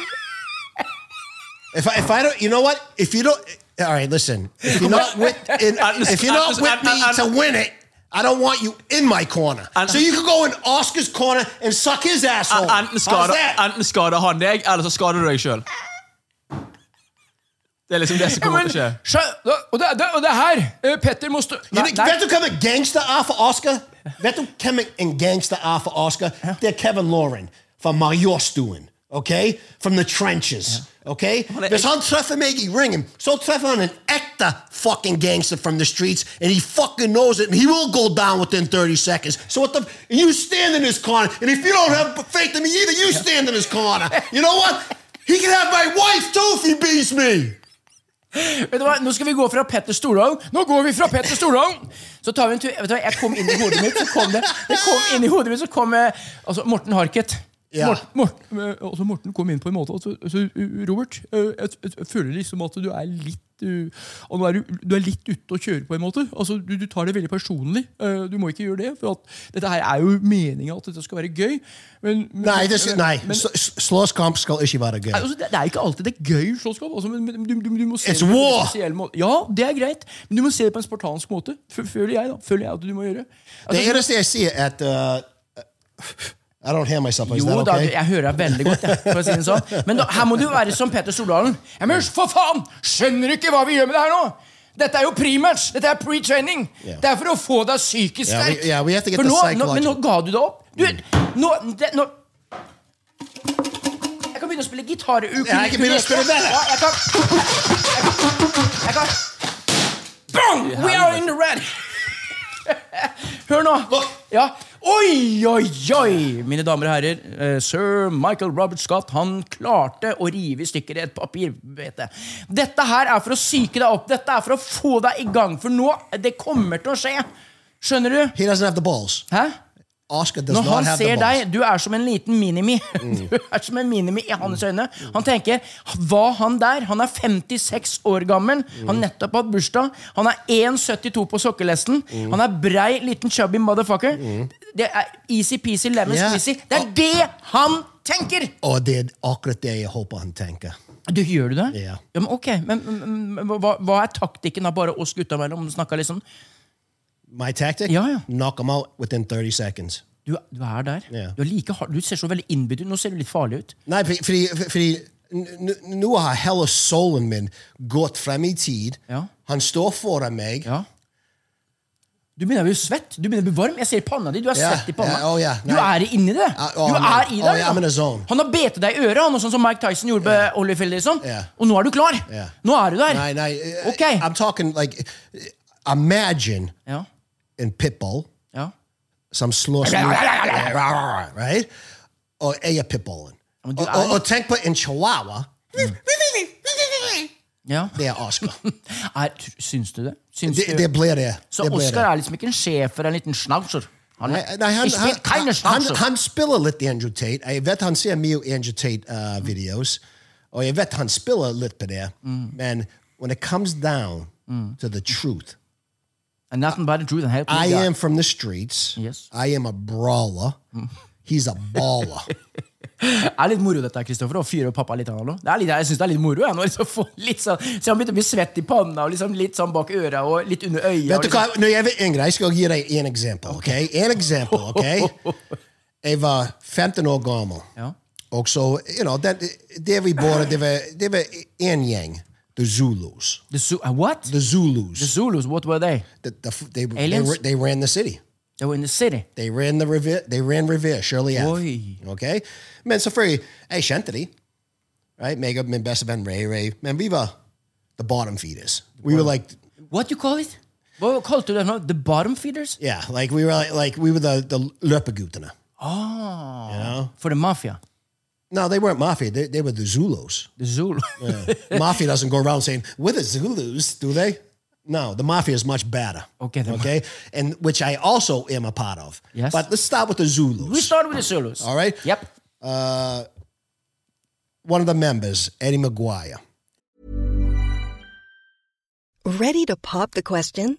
Speaker 4: If I, if I don't, you know what? If you don't, all right, listen. If you're not with, in, if you're not with me to win it, I don't want you in my corner. So you can go in Oscar's corner and suck his asshole.
Speaker 5: Enten
Speaker 4: How's
Speaker 5: skader,
Speaker 4: that?
Speaker 5: enten skader han deg, eller så skader du deg sjøl. Det er liksom det som kommer til å skje.
Speaker 3: og, det, det, og det her eh, Petter må stå
Speaker 4: You
Speaker 3: Nei,
Speaker 4: know,
Speaker 3: nei.
Speaker 4: vet du hvem en gangster er for Oscar? Vet du hvem en gangster er for Oscar? Det er Kevin Lauren fra Majorstuen. Okay? From the trenches. Okay?
Speaker 5: er
Speaker 4: Hvis
Speaker 5: ek-
Speaker 4: han treffer meg i ringen, så treffer han en ekte fucking gangster from the streets, and he fucking knows it, and he will go down within 30 seconds. So what the... You stand in this corner, and if you don't have faith in me either, you stand in this corner. You know what? He can have my wife too if he beats me.
Speaker 3: Vet du hva, Nå skal vi gå fra Petter Stordalen. Nå går vi fra Petter Stordalen! Så tar vi en tur Vet du hva, Jeg kom inn i hodet mitt, så kom det Det kom inn i hodet mitt, så kom eh, altså Morten Harket.
Speaker 4: Ja.
Speaker 3: Morten, Morten, eh, altså Morten kom inn på en måte altså, altså, uh, Robert, eh, jeg, jeg, jeg føler liksom at du er litt uh, og nå er du, du er litt ute å kjøre, på en måte. Altså, du, du tar det veldig personlig. Eh, du må ikke gjøre det. For at dette her er jo meninga at dette skal være gøy. Men, men,
Speaker 4: Nei, det er- nei.
Speaker 3: men-
Speaker 4: s- s- Slåsskamp skal ikke være gøy.
Speaker 3: Altså, det, det er ikke alltid det er gøy slåsskamp. Altså, men men du, du, du må se
Speaker 4: It's
Speaker 3: det på en
Speaker 4: war!
Speaker 3: spesiell måte. Ja, det er greit, men du må se det på en spartansk måte. Fø- Føler jeg da, føler jeg at du må gjøre.
Speaker 4: Det
Speaker 3: Altså,
Speaker 4: eneste jeg sier, er at uh, I don't hear myself. Is
Speaker 3: jo
Speaker 4: that
Speaker 3: da,
Speaker 4: okay?
Speaker 3: jeg hører deg veldig godt. Jeg, for å si det sånn. Men da, her må du være som Peter Stordalen. Ja, men for faen! Skjønner du ikke hva vi gjør med det her nå? Dette er jo prematch! Dette er pre-training!
Speaker 4: Ja.
Speaker 3: Det er for å få deg psykisk
Speaker 4: Ja, vi-
Speaker 3: sterk!
Speaker 4: ja, we have to get
Speaker 3: for
Speaker 4: the
Speaker 3: nå, nå, men nå
Speaker 4: psychological. Mm.
Speaker 3: ga du deg opp. Du, nå, det, nå Jeg kan begynne å spille gitar.
Speaker 4: Ja, jeg kan begynne å spille bedre.
Speaker 3: Ja, jeg kan... Jeg kan Bang! We are in the red! Hør nå. Ja. Oi, oi, oi! Mine damer og herrer, eh, sir Michael Robert Scott Han klarte å rive i stykker et papirbete. Dette her er for å psyke deg opp, dette er for å få deg i gang. For nå Det kommer til å skje. Skjønner du?
Speaker 4: He doesn't have the balls.
Speaker 3: Hæ?
Speaker 4: Oscar does
Speaker 3: Når
Speaker 4: not
Speaker 3: han
Speaker 4: have the
Speaker 3: ser
Speaker 4: balls.
Speaker 3: deg, du er som en liten minimi. Du er som en minimi i hans øyne. Han tenker var han der? Han er 56 år gammel. Han nettopp hatt bursdag. Han er 1,72 på sokkelesten. Han er brei, liten chubby motherfucker. Det er easy-peasy, lemon
Speaker 4: Ja.
Speaker 3: squeezy. Det er det han tenker!
Speaker 4: Og det er akkurat det jeg håper han tenker.
Speaker 3: Du, gjør du det?
Speaker 4: Ja.
Speaker 3: men ok, men, men, men hva, hva er taktikken av bare oss gutta mellom? Snakka liksom
Speaker 4: My tactic?
Speaker 3: Ja, ja.
Speaker 4: Knock him out within 30 seconds.
Speaker 3: du, du er der.
Speaker 4: Ja.
Speaker 3: Du, er like hard. du ser så veldig innbitt ut. Nå ser du litt farlig ut.
Speaker 4: Nei, fordi- fordi, fordi n- n- nå har hele solen min gått frem i tid.
Speaker 3: Ja.
Speaker 4: Han står foran meg.
Speaker 3: Ja. Du begynner å bli svett. Du begynner å bli varm. Jeg ser panna di. Du er
Speaker 4: Ja,
Speaker 3: svett i panna.
Speaker 4: ja, å ja,
Speaker 3: du
Speaker 4: nei.
Speaker 3: er inni det.
Speaker 4: Ja, å,
Speaker 3: du
Speaker 4: men- sånn.
Speaker 3: er i det.
Speaker 4: å,
Speaker 3: liksom.
Speaker 4: ja, I'm in a zone.
Speaker 3: han har betet deg i øret, han, og sånn som Mike Tyson gjorde med Holyfield. Liksom.
Speaker 4: Ja.
Speaker 3: Og nå er du klar.
Speaker 4: Ja.
Speaker 3: Nå er du der.
Speaker 4: Nei, nei. eh,
Speaker 3: Ok.
Speaker 4: I'm talking like Imagine
Speaker 3: Ja.
Speaker 4: en pitbull
Speaker 3: Ja.
Speaker 4: som slår seg ut. Right? Og jeg er pitbullen.
Speaker 3: Men
Speaker 4: Og,
Speaker 3: du er-
Speaker 4: og, og tenk på en chihuahua.
Speaker 3: ja.
Speaker 4: Det er Oscar.
Speaker 3: Er, tr- syns du det? Syns
Speaker 4: Det,
Speaker 3: du?
Speaker 4: det blir det.
Speaker 3: så
Speaker 4: det blir
Speaker 3: Oscar er liksom ikke en schæfer, en liten schnauzer. Han
Speaker 4: Nei,
Speaker 3: er
Speaker 4: nei, han,
Speaker 3: ikke
Speaker 4: han,
Speaker 3: keine
Speaker 4: han, han,
Speaker 3: schnauzer.
Speaker 4: han spiller litt Andrew Tate. Jeg vet han ser mye Andrew uh, Tate-videoer. og jeg Oh, vet han spiller litt på det. Men when it comes down to the truth
Speaker 3: And nothing but the truth and help me
Speaker 4: I
Speaker 3: God.
Speaker 4: am from the streets.
Speaker 3: Yes.
Speaker 4: I am a brawler. He's a baller.
Speaker 3: Det er litt moro dette, her, Kristoffer, å fyre opp pappa litt. Anna, nå. det er litt, jeg synes det er litt moro. Jeg, nå, liksom, få litt sånn, så han begynte å bli svett i panna, og liksom, litt sånn bak øra og litt under øya. og
Speaker 4: Vet du hva,
Speaker 3: liksom.
Speaker 4: når jeg var yngre, jeg skal gi deg en eksempel. ok? En eksempel, ok? Jeg var 15 år gammel.
Speaker 3: Ja.
Speaker 4: Og så, you know, den, det vi bodde, det var, det var en gjeng. The Zulus.
Speaker 3: The Zu- uh, what?
Speaker 4: The Zulus.
Speaker 3: The Zulus, what were they?
Speaker 4: the, the, they, they,
Speaker 3: Aliens?
Speaker 4: ra- they ran the city.
Speaker 3: They were in the city.
Speaker 4: They ran the Revere. They ran Revere. Shirley Ave.
Speaker 3: Oi.
Speaker 4: Okay, men så för jag kände det, right? Mega min bästa vän Ray Ray. Men vi var the bottom feeders. We were like,
Speaker 3: What you call it? Hva kalte du det nå? The bottom feeders?
Speaker 4: yeah, like we were like, like we were the the löpagutterna. Oh.
Speaker 3: For the mafia.
Speaker 4: No, they weren't mafia. They, they were the Zulus.
Speaker 3: The Zulu.
Speaker 4: mafia doesn't go around saying we're the Zulus, do they? No, the mafia is much better.
Speaker 3: Okay, the-
Speaker 4: okay, and which I also am a part of.
Speaker 3: Yes.
Speaker 4: but let's start with the Zulus.
Speaker 3: We started with the Zulus.
Speaker 4: All right.
Speaker 3: Yep.
Speaker 4: One of the members, Eddie McGuire.
Speaker 6: Ready to pop the question?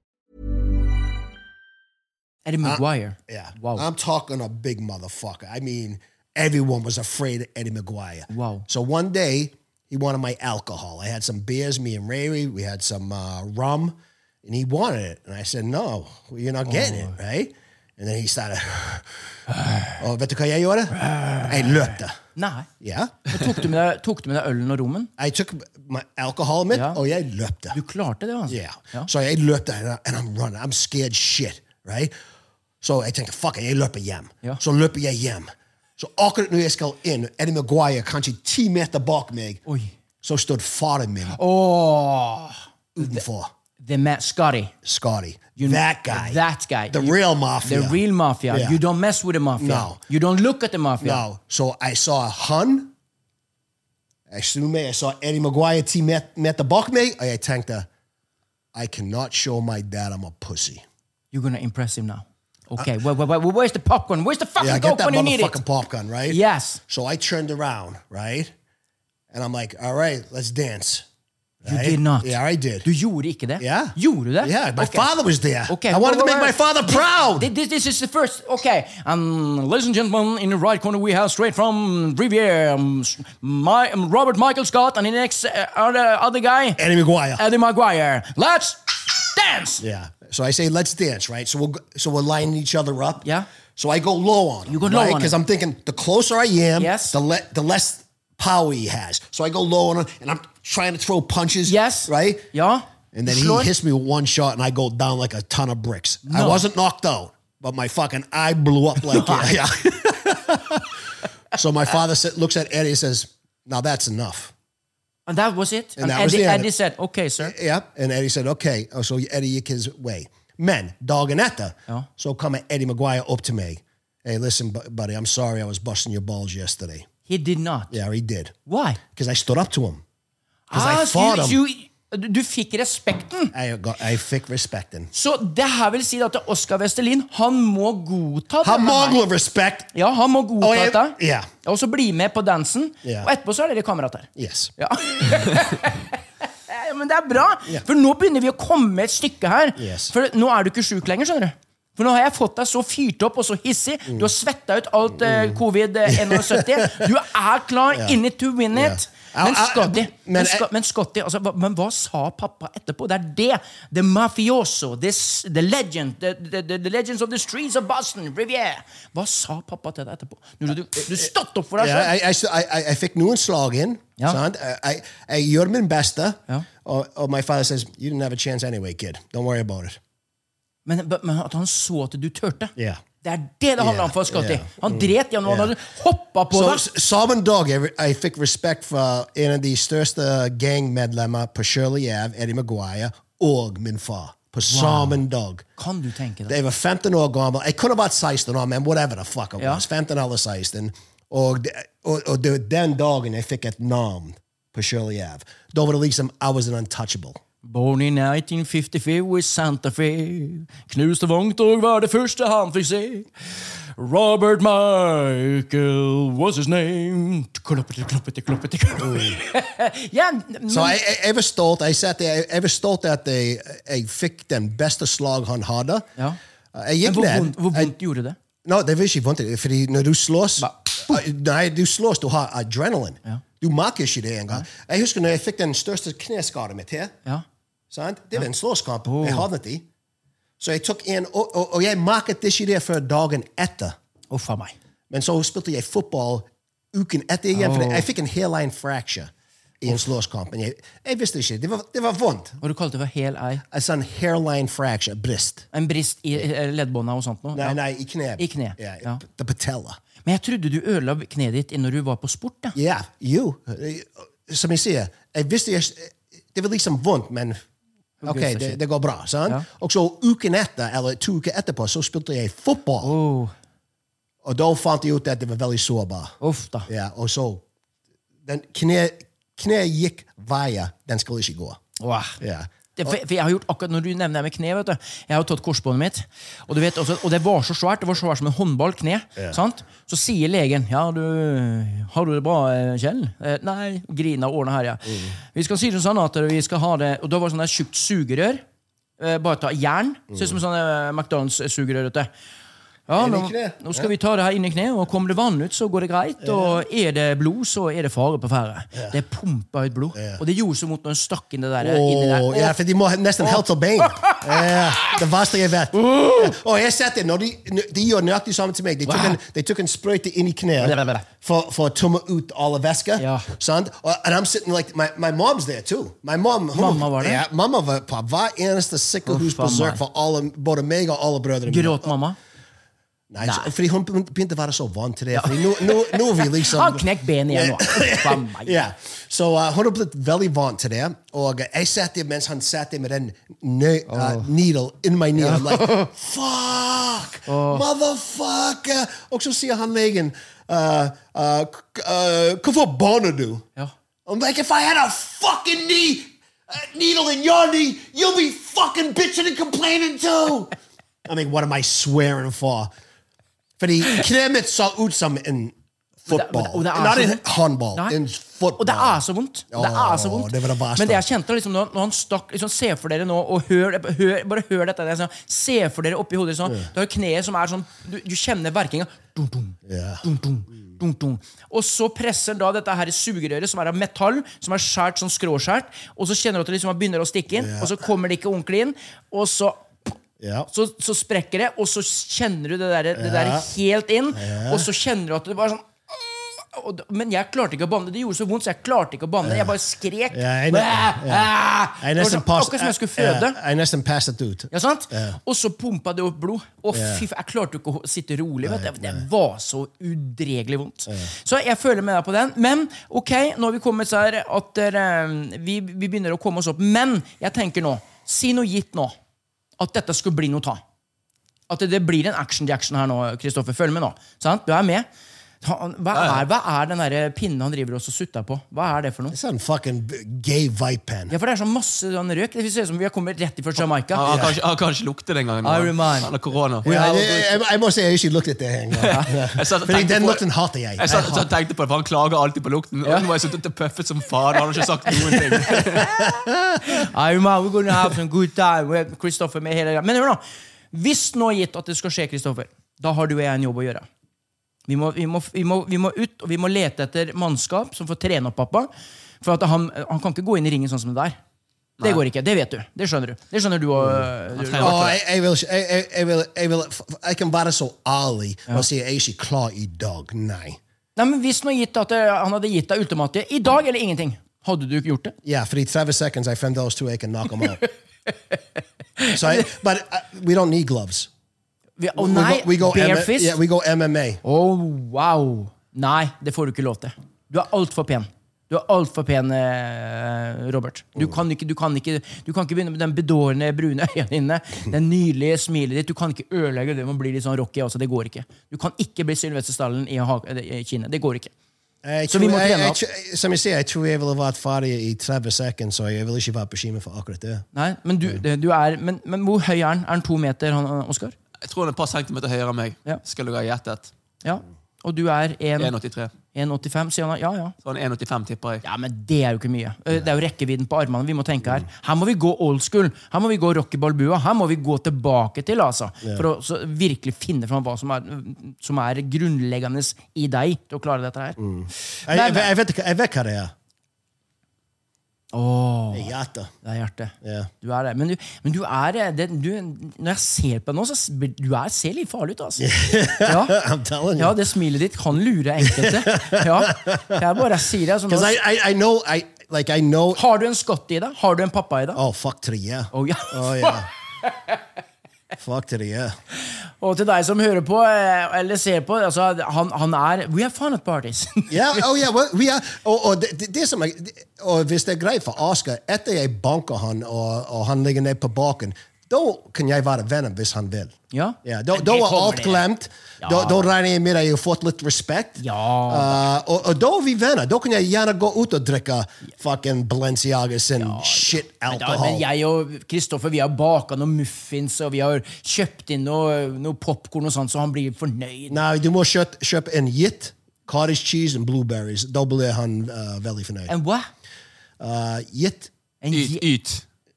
Speaker 3: Eddie Maguire.
Speaker 4: Uh, Yeah. Um,
Speaker 3: Wow.
Speaker 4: I'm talking a big motherfucker. I mean, everyone was afraid of Eddie Maguire.
Speaker 3: Wow.
Speaker 4: So one day, he wanted my alcohol. I had some beers, me and Rary, we had some uh, rum, and he wanted it. And I said, no, you're not getting it,
Speaker 3: Oh.
Speaker 4: right? And then he started, oh, vet du hva jeg gjorde? Jeg løpte.
Speaker 3: Nei.
Speaker 4: uh, Yeah.
Speaker 3: Men tok, du med deg, tok du med deg ølen og rommen?
Speaker 4: I took my alcohol Oh, mitt,
Speaker 3: Yeah.
Speaker 4: og jeg løpte.
Speaker 3: Du klarte det, altså.
Speaker 4: Yeah.
Speaker 3: Ja.
Speaker 4: So I løp der, and, I, and I'm running. I'm scared shit, right? So I tenker, fuck it, jeg løper hjem.
Speaker 3: Ja.
Speaker 4: Så løper jeg hjem. Så akkurat når jeg skal inn, Eddie Maguire kanskje ti meter bak meg,
Speaker 3: Oi.
Speaker 4: så stod faren min
Speaker 3: Åh.
Speaker 4: utenfor.
Speaker 3: Oh, The man, Scotty.
Speaker 4: Scotty. that guy.
Speaker 3: That guy.
Speaker 4: The
Speaker 3: You-
Speaker 4: real mafia.
Speaker 3: The real mafia.
Speaker 4: Yeah.
Speaker 3: You don't mess with the mafia.
Speaker 4: No.
Speaker 3: You don't look at the mafia.
Speaker 4: No. So I saw han. Jeg snur meg, jeg så Eddie Maguire ti met- meter bak meg, og jeg tenkte, I cannot show my dad I'm a pussy.
Speaker 3: You're gonna impress him now. Okay, wait, wait, wait, where's the popcorn? Where's the fucking
Speaker 4: Uh, Yeah, I get that
Speaker 3: popcorn you need it?
Speaker 4: motherfucking popcorn, right?
Speaker 3: Yes.
Speaker 4: So I turned around, right? And I'm like, all right, let's dance.
Speaker 3: You
Speaker 4: Right?
Speaker 3: did not.
Speaker 4: Yeah, I did.
Speaker 3: Du gjorde ikke det?
Speaker 4: Yeah.
Speaker 3: Gjorde du det?
Speaker 4: Yeah, my
Speaker 3: Okay.
Speaker 4: father was there.
Speaker 3: Okay,
Speaker 4: I wanted
Speaker 3: wait,
Speaker 4: to make
Speaker 3: wait,
Speaker 4: my father proud.
Speaker 3: This, this is the first. Okay, and ladies and gentlemen, in the right corner we have straight from Riviere, um, s- my, um, Robert Michael Scott, and the next uh, other, other guy,
Speaker 4: Eddie Maguire.
Speaker 3: Eddie Maguire. Let's dance.
Speaker 4: yeah. So I say, let's dance, right? So we'll go- so we're lining each other up.
Speaker 3: Yeah.
Speaker 4: So I go low on him.
Speaker 3: You go low on
Speaker 4: because
Speaker 3: him.
Speaker 4: I'm thinking the closer I am,
Speaker 3: Yes.
Speaker 4: the le- the less power he has. So I go low on him, and I'm trying to throw punches.
Speaker 3: Yes.
Speaker 4: Right.
Speaker 3: Yeah.
Speaker 4: And then
Speaker 3: Slår.
Speaker 4: he hits me with one shot, and I go down like a ton of bricks. I wasn't knocked out, but my fucking eye blew up like yeah. so my father sa- looks at Eddie and says, "Now that's enough."
Speaker 3: And that was it.
Speaker 4: And
Speaker 3: And,
Speaker 4: that was
Speaker 3: Eddie,
Speaker 4: the end.
Speaker 3: Eddie said, "Okay, sir."
Speaker 4: Yeah, and Eddie said, "Okay." Oh, so Eddie gick his way. Men, dagen efter, så kommer Eddie Maguire up to me. Hey, listen, bu- buddy, I'm sorry I was busting your balls yesterday.
Speaker 3: He did not.
Speaker 4: Yeah, he did.
Speaker 3: Why?
Speaker 4: Because I stood up to him. I
Speaker 3: Ah,
Speaker 4: fought
Speaker 3: så you, you, du fikk respekten.
Speaker 4: I got, I fick respekten.
Speaker 3: Så det her vil si at Oskar Vestelin han må godta
Speaker 4: Han
Speaker 3: dette her.
Speaker 4: mangler respekt.
Speaker 3: Ja, han må godta
Speaker 4: Og jeg-
Speaker 3: dette.
Speaker 4: ja.
Speaker 3: Og så bli med på dansen.
Speaker 4: Ja.
Speaker 3: Og etterpå så er dere kamerater.
Speaker 4: Yes.
Speaker 3: Ja. Ja, Men det er bra, for nå begynner vi å komme et stykke her.
Speaker 4: Yes.
Speaker 3: For nå er du ikke sjuk lenger, skjønner du. For nå har jeg fått deg så fyrt opp og så hissig.
Speaker 4: Mm.
Speaker 3: Du har svetta ut alt eh, covid-71. Du er klar, in it to win it.
Speaker 4: Ja.
Speaker 3: Men
Speaker 4: Ja,
Speaker 3: Scotty,
Speaker 4: men-
Speaker 3: men, Sco- men, Scotty altså, hva, men hva sa pappa etterpå? Det er det. The mafioso, this, the legend, the, the, the, the legends of the streets of Boston, Riviere. Hva sa pappa til deg etterpå? Du, du, du stått opp for deg
Speaker 4: Ja,
Speaker 3: selv.
Speaker 4: jeg, jeg, jeg, jeg fikk noen slag inn.
Speaker 3: Ja.
Speaker 4: Sant? Jeg, jeg, jeg gjør min beste.
Speaker 3: Ja.
Speaker 4: Og, og my father says, you didn't have a chance anyway, kid. Don't worry about it.
Speaker 3: Men, men at han så at du turte.
Speaker 4: Ja.
Speaker 3: Det er det det handler om for Scotty.
Speaker 4: Ja, ja.
Speaker 3: Han dret i om han
Speaker 4: Ja.
Speaker 3: hadde hoppa på
Speaker 4: Så
Speaker 3: deg.
Speaker 4: s- Sammen dag jeg, jeg fikk respekt fra en av de største gangmedlemmer på Shirley Ave, Eddie Maguire, og min far. På sammen dag.
Speaker 3: Kan du tenke deg?
Speaker 4: Jeg var 15 år gammel. Jeg kunne vært 16 år, men whatever the fuck it
Speaker 3: Ja.
Speaker 4: was. 15 eller 16. Og, det- og, og det var den dagen jeg fikk et navn på Shirley Ave. Da var det liksom I was an untouchable.
Speaker 3: Born in 1954 i Santa Fe. Knuste vogntog var det første han fikk se. Robert Michael was his name. Kloppete, kloppete, kloppete, kloppete. ja, men,
Speaker 4: Så jeg, jeg, jeg var stolt. Jeg, satt, der- jeg, jeg var stolt at jeg, jeg fikk den beste slag han hadde.
Speaker 3: ja.
Speaker 4: Jeg
Speaker 3: men
Speaker 4: gikk
Speaker 3: hvor
Speaker 4: ned.
Speaker 3: vondt, hvor vondt gjorde det?
Speaker 4: No, det var ikke vondt. Fordi når du slåss Uh, Nei, du slåss, du har adrenalin. Du merker ikke det engang. Jeg husker når jeg fikk den største kneskaden mitt her.
Speaker 3: Ja. Oh.
Speaker 4: Sant? Det var en slåsskamp. Jeg havnet i. Så jeg tok en, og, og, og jeg merket det ikke det før dagen etter.
Speaker 3: Uff a meg. Oh.
Speaker 4: Men så spilte jeg fotball uken etter igjen. For jeg fikk en hairline fracture. i en slåsskamp. Men jeg, jeg visste ikke. Det var, det var vondt.
Speaker 3: Og du kalte det for hel ei.
Speaker 4: En sånn hairline fracture, brist.
Speaker 3: En brist i eh, leddbånda og sånt noe.
Speaker 4: Nei,
Speaker 3: Ja.
Speaker 4: nei, i kne.
Speaker 3: I kne,
Speaker 4: Ja,
Speaker 3: ja.
Speaker 4: The patella.
Speaker 3: Men jeg trodde du ødela kneet ditt når du var på sport. da.
Speaker 4: Ja, jo. Som jeg sier, jeg visste jeg, det var liksom vondt, men
Speaker 3: gud,
Speaker 4: ok,
Speaker 3: så
Speaker 4: det,
Speaker 3: shit.
Speaker 4: det går bra. sant?
Speaker 3: Ja.
Speaker 4: Og så uken etter, eller to uker etterpå, så spilte jeg fotball.
Speaker 3: Oh.
Speaker 4: Og da fant jeg ut at det var veldig sårbar.
Speaker 3: Uff da.
Speaker 4: Ja, og så den kne, kne gikk veier den skulle ikke gå.
Speaker 3: Wow.
Speaker 4: Ja.
Speaker 3: Det, for, for jeg har gjort akkurat Når du nevner det med kne, vet du Jeg har jo tatt korsbåndet mitt, og, du vet også, og det var så svært. Det var så svært som en håndball. kne sant? Så sier legen Ja, du, 'Har du det bra, eh, Kjell?' Eh, nei. Grina og ordna her, ja.
Speaker 4: Mm.
Speaker 3: Vi skal si det sånn at vi skal ha det Og da var det sånn der tjukt sugerør. Eh, bare ta jern.
Speaker 4: Mm.
Speaker 3: Ser ut som sånn eh, McDonald's-sugerør. vet du. Ja,
Speaker 4: Inn i
Speaker 3: nå,
Speaker 4: kne.
Speaker 3: nå skal vi ta det her inn i kneet, og kommer det vann ut, så går det greit. Og er det blod, så er det fare på ferde. Det pumpa ut blod. Og det gjorde så vondt når hun stakk inn det der. inni der.
Speaker 4: Åh, ja, for de må ha nesten helt til bein. Ja, det verste jeg vet. Og jeg har sett det. Når de, de gjør nøyaktig samme til meg. De tok en, de tok en sprøyte inn i kneet for, for å tømme ut alle væsker.
Speaker 3: Ja.
Speaker 4: Sant? Og and I'm sitting like, my, my mom's there too. My mom, hun-
Speaker 3: Mamma var der?
Speaker 4: Ja, mamma var på hver eneste
Speaker 3: Uff,
Speaker 4: sykehusbesøk for alle, både meg og alle brødrene mine.
Speaker 3: Gråt mamma.
Speaker 4: Nei, så- fordi hun begynte å være så vant til det. Fordi nå, nå, nå er vi liksom...
Speaker 3: Han knekk benet igjen nå. Faen meg.
Speaker 4: Ja, så uh, hun har blitt veldig vant til det. Og jeg satt der mens han satt der med den nø uh, needle in my needle. I'm like, fuck! Motherfucker! Og så sier han legen, uh, uh, k- uh, hvorfor banner du?
Speaker 3: Ja.
Speaker 4: I'm like, if I had a fucking knee, uh, needle in your knee, you'll be fucking bitching and complaining too. I mean, what am I swearing for? Fordi kneet mitt så ut som en football.
Speaker 3: Og det er
Speaker 4: Not
Speaker 3: så
Speaker 4: en
Speaker 3: vondt.
Speaker 4: håndball,
Speaker 3: Nei.
Speaker 4: en football.
Speaker 3: Og det er så vondt. Og Det er så
Speaker 4: Åh,
Speaker 3: vondt.
Speaker 4: det var det verste.
Speaker 3: Men det jeg kjente liksom, når, når han stakk liksom, Se for dere nå, og hør, hør, bare hør dette. Det er sånn, se for dere oppi hodet sånn. Du har kneet som er sånn Du, du kjenner verkinga. Dum, dum, dum, dum, dum, dum. Og så presser da dette her sugerøret, som er av metall, som er skjært sånn skråskjært, og så kjenner du at det liksom begynner å stikke inn, og så kommer det ikke ordentlig inn, og så
Speaker 4: Ja.
Speaker 3: så, så sprekker det, og så kjenner du det der, det der helt inn. Og så kjenner du at det bare sånn «Åh!» og, d- Men jeg klarte ikke å banne. Det gjorde så vondt, så jeg klarte ikke å banne. Jeg bare skrek.
Speaker 4: Ja, jeg
Speaker 3: Bæ!
Speaker 4: ne- ja.
Speaker 3: Æ!
Speaker 4: Jeg
Speaker 3: Det var
Speaker 4: nesten
Speaker 3: sånn,
Speaker 4: pass-
Speaker 3: Akkurat som jeg skulle
Speaker 4: Ja,
Speaker 3: føde.
Speaker 4: Jeg nesten passet ut.
Speaker 3: Ja, sant? Og så pumpa det opp blod. Å,
Speaker 4: Ja.
Speaker 3: fy, f- jeg klarte jo ikke å sitte rolig. Vet du. Det var så udregelig vondt. Så jeg føler med deg på den. Men ok, nå har vi kommet så her at eh, vi, vi begynner å komme oss opp. Men jeg tenker nå, si noe gitt nå, at dette skulle bli noe ta. At det blir en action-jaction her nå, Kristoffer. Følg med nå. Sant? Du er med. Han- Hva er, hva er den der pinnen han driver og så sutter på? Hva er det for noe?
Speaker 4: Sånn fucking b- gay white pen.
Speaker 3: Ja, for Det er så masse sånn røk. Det ser ut som vi har kommet rett ifra Jamaica.
Speaker 5: Han, han, kan ikke, han kan ikke lukte den gangen.
Speaker 3: I remind.
Speaker 5: Han har korona.
Speaker 4: Ja, jeg, jeg, jeg må si jeg ikke luktet det engang.
Speaker 5: Jeg satt og
Speaker 4: Fordi
Speaker 5: tenkte
Speaker 4: den
Speaker 5: på-
Speaker 4: lukten hater jeg.
Speaker 5: Jeg satt, satt og tenkte på det, for Han klager alltid på lukten. Og nå har jeg sittet og puffet som faen. Han har ikke sagt noen ting.
Speaker 3: Hey, man, we're gonna have some good time with Christopher med hele greia. Men hør nå. Hvis nå gitt at det skal skje, Kristoffer, da har du og jeg en jobb å gjøre. Vi må, vi, må, vi, må, vi må ut og vi må lete etter mannskap som får trene opp pappa. For at han, han kan ikke gå inn i ringen sånn som det der. Det går ikke. Det vet du. Det skjønner du. Det skjønner du og,
Speaker 4: Mm.
Speaker 3: du-
Speaker 5: trener.
Speaker 4: Åh, jeg, jeg, vil, ikke- jeg, jeg, jeg, vil, jeg, vil, jeg kan være så ærlig og si jeg er ikke klar i dag. Nei.
Speaker 3: Nei, men Hvis nå gitt at eh, han hadde gitt deg ultimatet i dag eller ingenting, hadde du ikke gjort det?
Speaker 4: Ja, fordi 30 seconds, jeg fremdeles tror jeg kan knock him out. so I, but uh, we don't need gloves.
Speaker 3: Vi, å nei,
Speaker 4: we go, we go M-
Speaker 3: barefist?
Speaker 4: Yeah, we go MMA.
Speaker 3: Oh, wow! Nei, det får du ikke lov til. Du er altfor pen. Du er altfor pen, eh, Robert. Du kan, ikke, du, kan ikke, du kan ikke begynne med den bedårende brune øynene dine. Det nydelige smilet ditt. Du kan ikke ødelegge det med å bli litt sånn rocky. Altså, det går ikke. Du kan ikke bli Sylvester Stallen i, ha- eh, i Kina. Det går ikke.
Speaker 4: Jeg
Speaker 3: Så vi må
Speaker 4: tror- jeg-
Speaker 3: trene
Speaker 4: jeg
Speaker 3: opp.
Speaker 4: tror- Som jeg sier, jeg tror jeg ville vært ferdig i 30 seconds, så jeg vil ikke være på skimen for akkurat det.
Speaker 3: Nei, men, du, det- du er, men, men hvor høy er han? Er han to meter, han, han, Oskar?
Speaker 5: Jeg tror han er et par centimeter høyere enn meg.
Speaker 3: Ja.
Speaker 5: Skal du ha gjettet?
Speaker 3: Ja. Og du er en-
Speaker 5: 1,83.
Speaker 3: 1,85? Sier han ja, ja.
Speaker 5: Så han er 1,85, Sånn tipper jeg.
Speaker 3: Ja, men det er jo ikke mye. Eh, Det er jo rekkevidden på armene vi må tenke her. Her må vi gå old school. Her må vi gå Rocky Balboa. Her må vi gå tilbake til, altså. For å så virkelig finne fram hva som er, øh, som er grunnleggende i deg til å klare dette her.
Speaker 4: Jeg,
Speaker 3: Men-
Speaker 4: jeg, jeg, vet, ikke- jeg vet hva det er.
Speaker 3: Åh,
Speaker 4: Det er hjertet.
Speaker 3: det er hjertet.
Speaker 4: Ja.
Speaker 3: Du er det. Men du, men du er eh, det, du, Når jeg ser på deg nå, så s- du er, ser litt farlig ut, altså. Ja.
Speaker 4: I'm telling you.
Speaker 3: ja, det smilet ditt kan lure enkelte. Ja. Jeg bare sier det. Altså, nå-
Speaker 4: Because I, I, I know I like I know.
Speaker 3: Har du en skott i deg? Har du en pappa i deg?
Speaker 4: Oh fuck to the yeah.
Speaker 3: Oh, ja.
Speaker 4: Oh yeah. fuck to the yeah.
Speaker 3: Og til deg som hører på, eh, eller ser på, altså, han, han er We have fun at parties.
Speaker 4: Ja, oh ja, well, vi er, og, og, det, det som er, og hvis det er greit for Oscar, etter jeg banker han, og, og han ligger ned på baken, da kan jeg være venner hvis han vil.
Speaker 3: Ja.
Speaker 4: Ja, da,
Speaker 3: Men
Speaker 4: da
Speaker 3: det
Speaker 4: er
Speaker 3: kommer
Speaker 4: alt
Speaker 3: det.
Speaker 4: glemt. Da, da regner jeg med at jeg har fått litt respekt.
Speaker 3: Ja.
Speaker 4: Eh, og, og da er vi venner. Da kan jeg gjerne gå ut og drikke fucking Balenciaga sin shit
Speaker 3: Men, da, men
Speaker 4: alkohol.
Speaker 3: jeg og Kristoffer vi har baka noen muffins, og vi har kjøpt inn noe, noe popkorn, og sånt, så han blir fornøyd.
Speaker 4: Nei, du må kjøpe, kjøpe en gitt, cottage cheese og blueberries. Da blir han eh, veldig fornøyd.
Speaker 3: En hva?
Speaker 4: Uh, gitt
Speaker 3: En
Speaker 5: Yt.
Speaker 3: je-
Speaker 5: yt.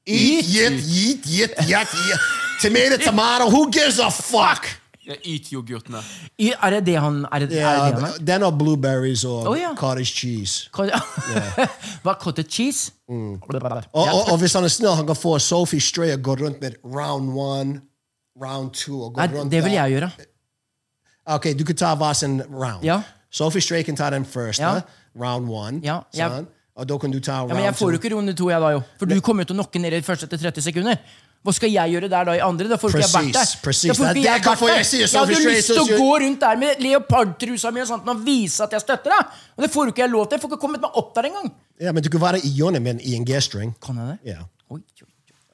Speaker 4: Eat, yit, yeet, yit, yet, yet. Tomato, tomato, who gives a fuck?
Speaker 5: Ja, yt yoghurtene.
Speaker 3: Y- Er det det han er? Det, er det det han
Speaker 4: Yeah,
Speaker 3: er?
Speaker 4: then are blueberries or
Speaker 3: Oh, ja.
Speaker 4: cottage cheese.
Speaker 3: Hva- Hva? Cottage cheese?
Speaker 4: Og, og, og hvis han er snill, han kan få Sophie Stray og gå rundt med round one, round two og gå
Speaker 3: Nei,
Speaker 4: rundt
Speaker 3: Ah, det vil
Speaker 4: der.
Speaker 3: jeg gjøre.
Speaker 4: Ok, du kan ta hver sin round.
Speaker 3: Ja.
Speaker 4: Sophie Stray kan ta den første,
Speaker 3: Ja.
Speaker 4: round one.
Speaker 3: Ja, jeg-
Speaker 4: sånn. Og da kan du ta round
Speaker 3: Ja, men jeg
Speaker 4: two.
Speaker 3: får jo ikke runde to, jeg da, jo. For du kommer jo til å nokke ned i første etter 30 sekunder. Hva skal jeg gjøre der da i andre? Da får ikke jeg vært der.
Speaker 4: Precis, precis.
Speaker 3: Da får
Speaker 4: Det
Speaker 3: ikke
Speaker 4: er
Speaker 3: jeg vært
Speaker 4: derfor jeg
Speaker 3: der.
Speaker 4: sier
Speaker 3: Jeg hadde
Speaker 4: Sophie
Speaker 3: jo
Speaker 4: Stray
Speaker 3: lyst til å
Speaker 4: Association.
Speaker 3: gå rundt der med leopardtrusa mi og sånt og vise at jeg støtter deg. Og det får jo ikke jeg lov til. Jeg får ikke kommet meg opp der engang.
Speaker 4: Ja, men du kan være i hjørnet med i en G-string.
Speaker 3: Kan jeg det?
Speaker 4: Ja.
Speaker 3: Oi, oi, oi.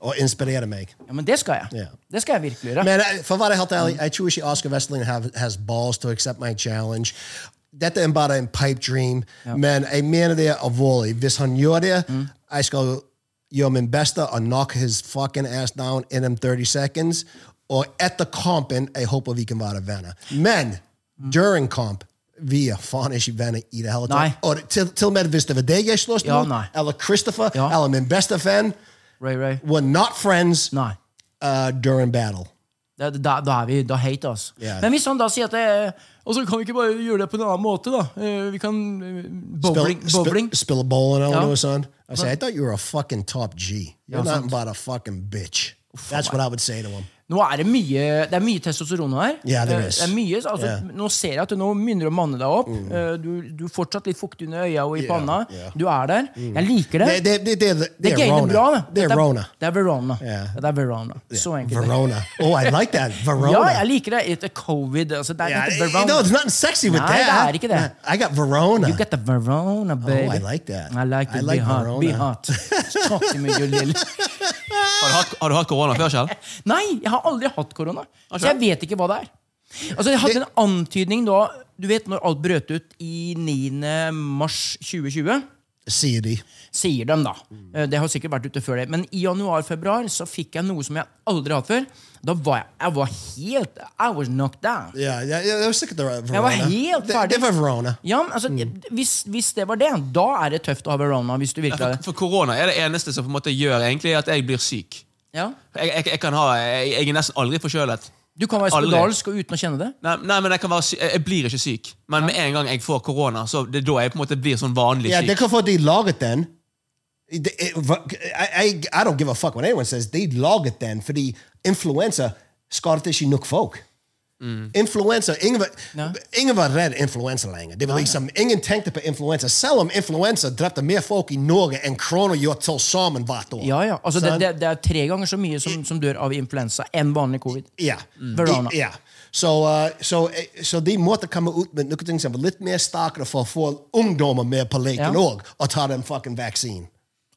Speaker 4: Og inspirere meg.
Speaker 3: Ja, men det skal jeg.
Speaker 4: Ja.
Speaker 3: Det skal jeg virkelig gjøre.
Speaker 4: Men eh, for å være helt ærlig, jeg tror ikke Oscar Westling have- has balls to accept my challenge. Dette er bare en pipe dream, men jeg mener det er alvorlig. Hvis han gjør det, jeg skal gjøre min beste og knock his fucking ass down in them 30 seconds. Og etter kampen, jeg håper vi kan være venner. Men during kamp, vi er faen ikke venner i det hele
Speaker 3: Nei.
Speaker 4: tatt. Og til, til og med hvis det var deg jeg slåss
Speaker 3: Ja,
Speaker 4: mot,
Speaker 3: nei.
Speaker 4: eller Christopher,
Speaker 3: Ja.
Speaker 4: eller min beste venn,
Speaker 3: Ray, Ray.
Speaker 4: we're not friends
Speaker 3: Nei.
Speaker 4: uh, during battle.
Speaker 3: Da, da, da er vi da hate, altså.
Speaker 4: Ja.
Speaker 3: Men hvis han da sier at det, Og så kan vi ikke bare gjøre det på en annen måte, da. Eh, Vi kan eh, Bowling.
Speaker 4: Spill-
Speaker 3: bowling.
Speaker 4: Spill, spill a bowling out
Speaker 3: Ja.
Speaker 4: or something. I say, I thought you were a fucking top G. You're nothing but a fucking bitch. That's what I would say to him.
Speaker 3: Nå er det mye, det er mye testosteron her.
Speaker 4: Ja, det er
Speaker 3: Eh,
Speaker 4: det.
Speaker 3: er mye, altså,
Speaker 4: Ja. Mm.
Speaker 3: Nå ser jeg at du nå begynner å manne deg opp. Eh, Du, du er fortsatt litt fuktig under øya og i panna.
Speaker 4: ja. Mm.
Speaker 3: Du er der. Jeg liker det.
Speaker 4: They, they, they, they're,
Speaker 3: det
Speaker 4: they're
Speaker 3: gainer
Speaker 4: Rona.
Speaker 3: bra. Det.
Speaker 4: They're
Speaker 3: Dette er-
Speaker 4: Rona.
Speaker 3: Det er Verona.
Speaker 4: Ja.
Speaker 3: Det er Verona. Så enkelt.
Speaker 4: Verona. Oh, I like that. Verona.
Speaker 3: Ja, jeg liker det. Etter covid altså, det er
Speaker 4: Yeah,
Speaker 3: litt
Speaker 4: it-
Speaker 3: Verona.
Speaker 4: no, it's nothing sexy with
Speaker 3: Nei,
Speaker 4: that.
Speaker 3: det er ikke det.
Speaker 4: Nah, I got Verona.
Speaker 3: You get the Verona, baby.
Speaker 4: Oh, I like that.
Speaker 3: I like to
Speaker 4: I
Speaker 3: be
Speaker 4: like
Speaker 3: hot. Be
Speaker 4: Verona.
Speaker 3: hot. Talk to me, you little
Speaker 5: Har du hatt, har du hatt korona før, Kjell?
Speaker 3: Nei, jeg har aldri hatt korona. Så jeg vet ikke hva det er. Altså, Jeg hadde en antydning da Du vet når alt brøt ut i 9. mars 2020?
Speaker 4: CD.
Speaker 3: Sier de, da. Eh, Det har sikkert vært ute før det. Men i januar-februar så fikk jeg noe som jeg aldri har hatt før. Da var jeg jeg var helt I was knocked down.
Speaker 4: Yeah, yeah, yeah. That was sick of the Verona.
Speaker 3: Jeg var helt
Speaker 4: They-
Speaker 3: ferdig.
Speaker 4: They were Verona.
Speaker 3: Ja, men altså, hvis, hvis det var det, da er det tøft å ha verona. Hvis du virkelig har det.
Speaker 5: For korona er det eneste som på en måte gjør egentlig at jeg blir syk.
Speaker 3: Ja.
Speaker 5: Jeg, jeg, jeg, kan ha, jeg, jeg er nesten aldri forkjølet.
Speaker 3: Du kan være
Speaker 5: Aldri.
Speaker 3: spedalsk og uten å kjenne det.
Speaker 5: Nei, nei, men jeg, kan være sy jeg jeg blir ikke syk. Men med en gang jeg får korona, så det er da jeg på en måte blir sånn vanlig
Speaker 4: Yeah, they
Speaker 5: syk.
Speaker 4: could for they log it then. It- it- I, I, I don't give a fuck what anyone says. They log it then for the influenza. Skadat is nog folk. Influenza. Ingen,
Speaker 3: Ja.
Speaker 4: ingen var rädd influenza längre. Det var
Speaker 3: Ah.
Speaker 4: liksom, ingen tänkte på influenza. Selv om influenza drepte mer folk i Norge än corona gjort tillsammans vart år.
Speaker 3: Ja, ja. Altså, det,
Speaker 4: Sant?
Speaker 3: det, det er tre ganger så mye som, som dør av influensa enn vanlig covid.
Speaker 4: Ja.
Speaker 3: Mm. Verona.
Speaker 4: I- Ja. Så, eh, så, eh, så de måtte komme ut med noen ting som var litt mer starkere for å få ungdommer med på leken
Speaker 3: Ja.
Speaker 4: òg, og ta den fucking vaksinen.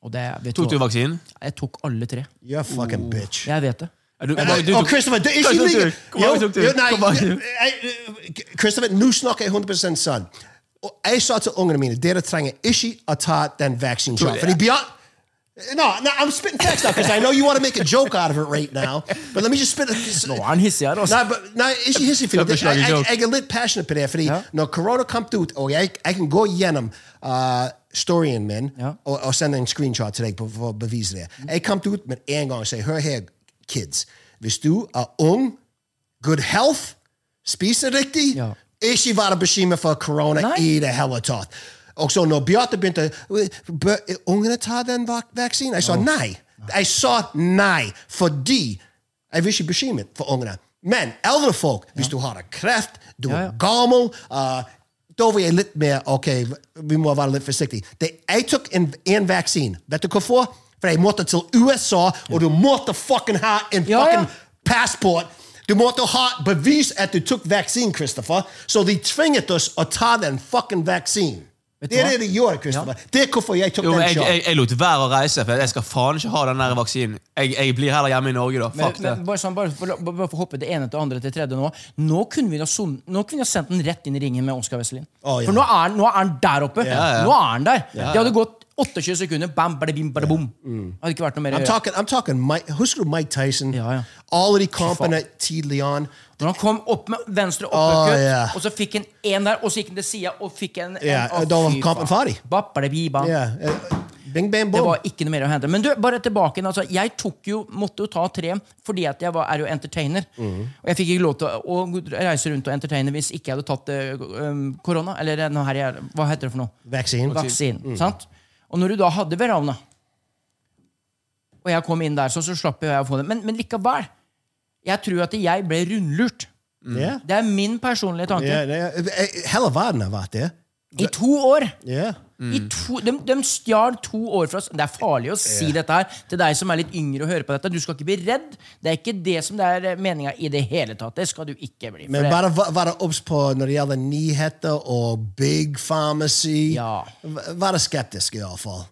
Speaker 3: Og det, vet
Speaker 5: Tok du
Speaker 3: hva?
Speaker 5: vaksinen?
Speaker 3: Jeg tok alle tre.
Speaker 4: You're a fucking bitch.
Speaker 3: Jeg vet det.
Speaker 5: Ja, du-
Speaker 4: Men,
Speaker 5: du- du-
Speaker 4: og Christopher, det er
Speaker 5: Hva
Speaker 4: ikke
Speaker 5: tok du?
Speaker 4: like-
Speaker 5: Hvor mange
Speaker 4: Jo,
Speaker 5: tok du?
Speaker 4: jo, nei,
Speaker 5: Hvor mange?
Speaker 4: jeg- eh, Christopher, nå snakker jeg 100 sann. Og Jeg sa til ungene mine dere trenger ikke å ta den vaksinen. Fordi beyond... No, no, I'm spitting facts now because I know you want to make a joke out of it right now. But let me just spit. A,
Speaker 3: Nå er han hissig her, altså.
Speaker 4: Nei, but, nei, ikke hissig. Fordi
Speaker 5: Jeg
Speaker 4: det, jeg,
Speaker 5: beklager,
Speaker 4: jeg,
Speaker 5: joke.
Speaker 4: jeg er litt passionate på det. Fordi når korona kom ut, og jeg, jeg kan gå gjennom uh, storyen min
Speaker 3: Ja.
Speaker 4: og, og sende en screenshot til deg på- for å bevise det. Jeg kom ut med en gang og sa hør her, kids. Hvis du er ung, good health, spiser riktig,
Speaker 3: Ja.
Speaker 4: ikke være bekymret for e korona
Speaker 3: Nei.
Speaker 4: i det hele tatt. Og så når Beate begynte Bør ungene ta den vak- vaksinen? Jeg sa nei. Jeg sa nei fordi jeg vil ikke bekymre for ungene. Men eldre folk, hvis du har kreft, du
Speaker 3: Ja, ja.
Speaker 4: er gammel, uh, Dove är lite mer, okej, vi må vara lite försiktiga. Det, jag tog en, en vaccin. Vet du varför? För jag måste till USA och du måste fucking ha en
Speaker 3: Ja,
Speaker 4: fucking
Speaker 3: ja.
Speaker 4: passport. Du måste ha bevis att du tog vaccin, Christopher. Så de tvingade oss att ta den fucking vaccin.
Speaker 3: du
Speaker 4: Det är
Speaker 3: vad?
Speaker 4: det de gjorde, Christopher. Det är varför jag tog
Speaker 5: Jo, men
Speaker 4: den
Speaker 5: jeg,
Speaker 4: shoten.
Speaker 5: jeg, jeg lot være å reise, for jeg skal faen ikke ha den der vaksinen. Jeg, jeg blir heller hjemme i Norge, da.
Speaker 3: Men,
Speaker 5: Fuck det.
Speaker 3: men bare, sånn, bare, for, bare for å hoppe det ene til det andre til det tredje nå. Nå kunne vi ha, son, nå kunne vi ha sendt den rett inn i ringen med Oscar Wesselin.
Speaker 4: Å, ja.
Speaker 3: For nå er, han- nå er han der oppe.
Speaker 5: ja.
Speaker 3: Nå er han der. Det hadde gått 28 sekunder. Bam, bada, bim, bada, bom. Hadde ikke vært noe mer. å
Speaker 4: I'm
Speaker 3: gjøre.
Speaker 4: talking. I'm talking. Mike, husker du Mike Tyson?
Speaker 3: Ja, ja.
Speaker 4: Alle de kampene tidlig on.
Speaker 3: Når han kom opp med venstre
Speaker 4: Å,
Speaker 3: uppercut,
Speaker 4: ja.
Speaker 3: og så fikk han en der, og så gikk han til sida og fikk en, en
Speaker 4: Ja,
Speaker 3: å,
Speaker 4: da var
Speaker 3: fy
Speaker 4: kampen
Speaker 3: faen.
Speaker 4: ferdig.
Speaker 3: Ba, bada, bi, bam.
Speaker 4: Yeah. uh, Bing bang
Speaker 3: Det
Speaker 4: boom.
Speaker 3: var ikke noe mer å hente. Men du, bare tilbake igjen, altså, Jeg tok jo, måtte jo ta tre fordi at jeg var, er jo entertainer. Og jeg fikk ikke lov til å, å reise rundt og entertaine hvis ikke jeg hadde tatt eh, um, korona. Eller den her, jeg- hva heter det for noe?
Speaker 4: Vaccine.
Speaker 3: Vaksinen. Sant? Og når du da hadde Verona, og jeg kom inn der, så, så slapp jo jeg å få det. Men, men likevel. Jeg tror at jeg ble rundlurt.
Speaker 4: Yeah.
Speaker 3: Det er min personlige tanke.
Speaker 4: Yeah. yeah. Eh, eh, Hele verden har vært der.
Speaker 3: I to år!
Speaker 4: Yeah.
Speaker 3: I to, de, de stjal to år fra oss. Det er farlig å si dette her til deg som er litt yngre og hører på dette. Du skal ikke bli redd. Det er ikke det som det er meninga i det hele tatt. Det skal du ikke bli. for
Speaker 4: Men
Speaker 3: det-
Speaker 4: bare va- være obs på når det gjelder nyheter og big pharmacy. er
Speaker 3: Ja.
Speaker 4: V- Være skeptisk, iallfall.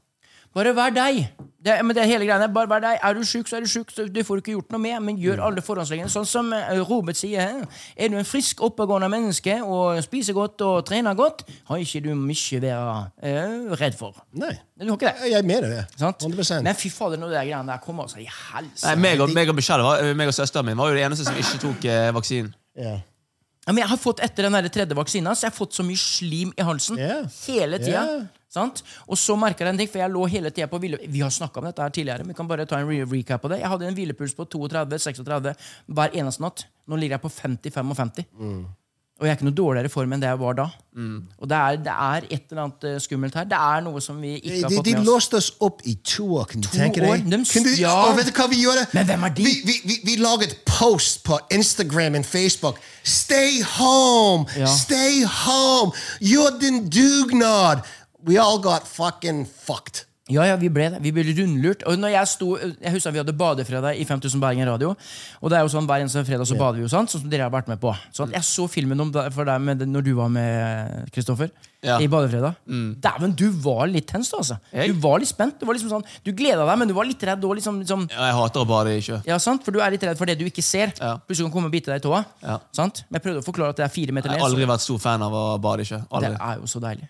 Speaker 3: Bare vær deg. Det, men det er hele greiene, bare vær deg. Er du sjuk, så er du sjuk. så Du får ikke gjort noe med, men
Speaker 4: Mm.
Speaker 3: gjør alle forhåndsreglene. Sånn som eh, Robert sier. her. Er du en frisk, oppegående menneske og spiser godt og trener godt, har ikke du mye å være eh, redd for.
Speaker 4: Nei.
Speaker 3: Du har ikke det.
Speaker 4: Jeg mener det.
Speaker 3: Sant?
Speaker 4: 100
Speaker 3: Men fy fader, når det greiene der kommer, altså. I helsike.
Speaker 5: Nei, meg og, meg og Michelle, var, meg og søsteren min var jo de eneste som ikke tok eh, vaksinen.
Speaker 4: Ja.
Speaker 3: Ja, men jeg har fått etter den der tredje vaksina Så jeg har fått så mye slim i halsen
Speaker 4: Ja.
Speaker 3: hele tida.
Speaker 4: Ja.
Speaker 3: Sant? Og så merka jeg en ting, for jeg lå hele tida på hvile... Vi har snakka om dette her tidligere. men Vi kan bare ta en re recap på det Jeg hadde en hvilepuls på 32-36 hver eneste natt. Nå ligger jeg på 50-55.
Speaker 4: Mm.
Speaker 3: Og jeg er ikke noe dårligere i form enn det jeg var da. Og det er, det er et eller annet eh, skummelt her. Det er noe som vi ikke
Speaker 4: De,
Speaker 3: har
Speaker 4: de,
Speaker 3: fått
Speaker 4: de
Speaker 3: med oss.
Speaker 4: låste oss opp i to år, kan du tenke
Speaker 3: år?
Speaker 4: deg?
Speaker 3: De
Speaker 4: Kan du,
Speaker 3: stjal-
Speaker 4: og vet du hva vi gjorde?
Speaker 3: Men hvem er de?
Speaker 4: Vi, vi, vi, vi laget post på Instagram og Facebook. Stay home!
Speaker 3: Ja.
Speaker 4: Stay home! Gjør din dugnad! We all got fucking fucked.
Speaker 3: Ja, ja, vi ble det. Vi ble rundlurt. Og når jeg sto, jeg husker Vi hadde badefredag i 5000 Bergen Radio. Og det er jo sånn Hver eneste fredag så bader vi jo, sant? sånn som dere har vært med på. Sånn, jeg så filmen om, deg- for deg med, når du var med Kristoffer
Speaker 5: Ja. Mm.
Speaker 3: i Badefredag. Dæven, du var litt tens, du, altså.
Speaker 5: Jeg?
Speaker 3: Du var litt spent. Du var liksom sånn, du gleda deg, men du var litt redd òg. Liksom, liksom,
Speaker 5: Ja, Jeg hater å bade i sjø.
Speaker 3: ja, sant? For du er litt redd for det du ikke ser.
Speaker 5: Ja.
Speaker 3: Plutselig kan komme og bite deg i tåa.
Speaker 5: Ja.
Speaker 3: Sant? Men jeg prøvde å forklare at det er fire meter
Speaker 5: Jeg
Speaker 3: ned.
Speaker 5: har
Speaker 3: så-
Speaker 5: aldri vært stor fan av å bade i sjø.
Speaker 3: det
Speaker 5: Aldri.
Speaker 3: er jo så deilig.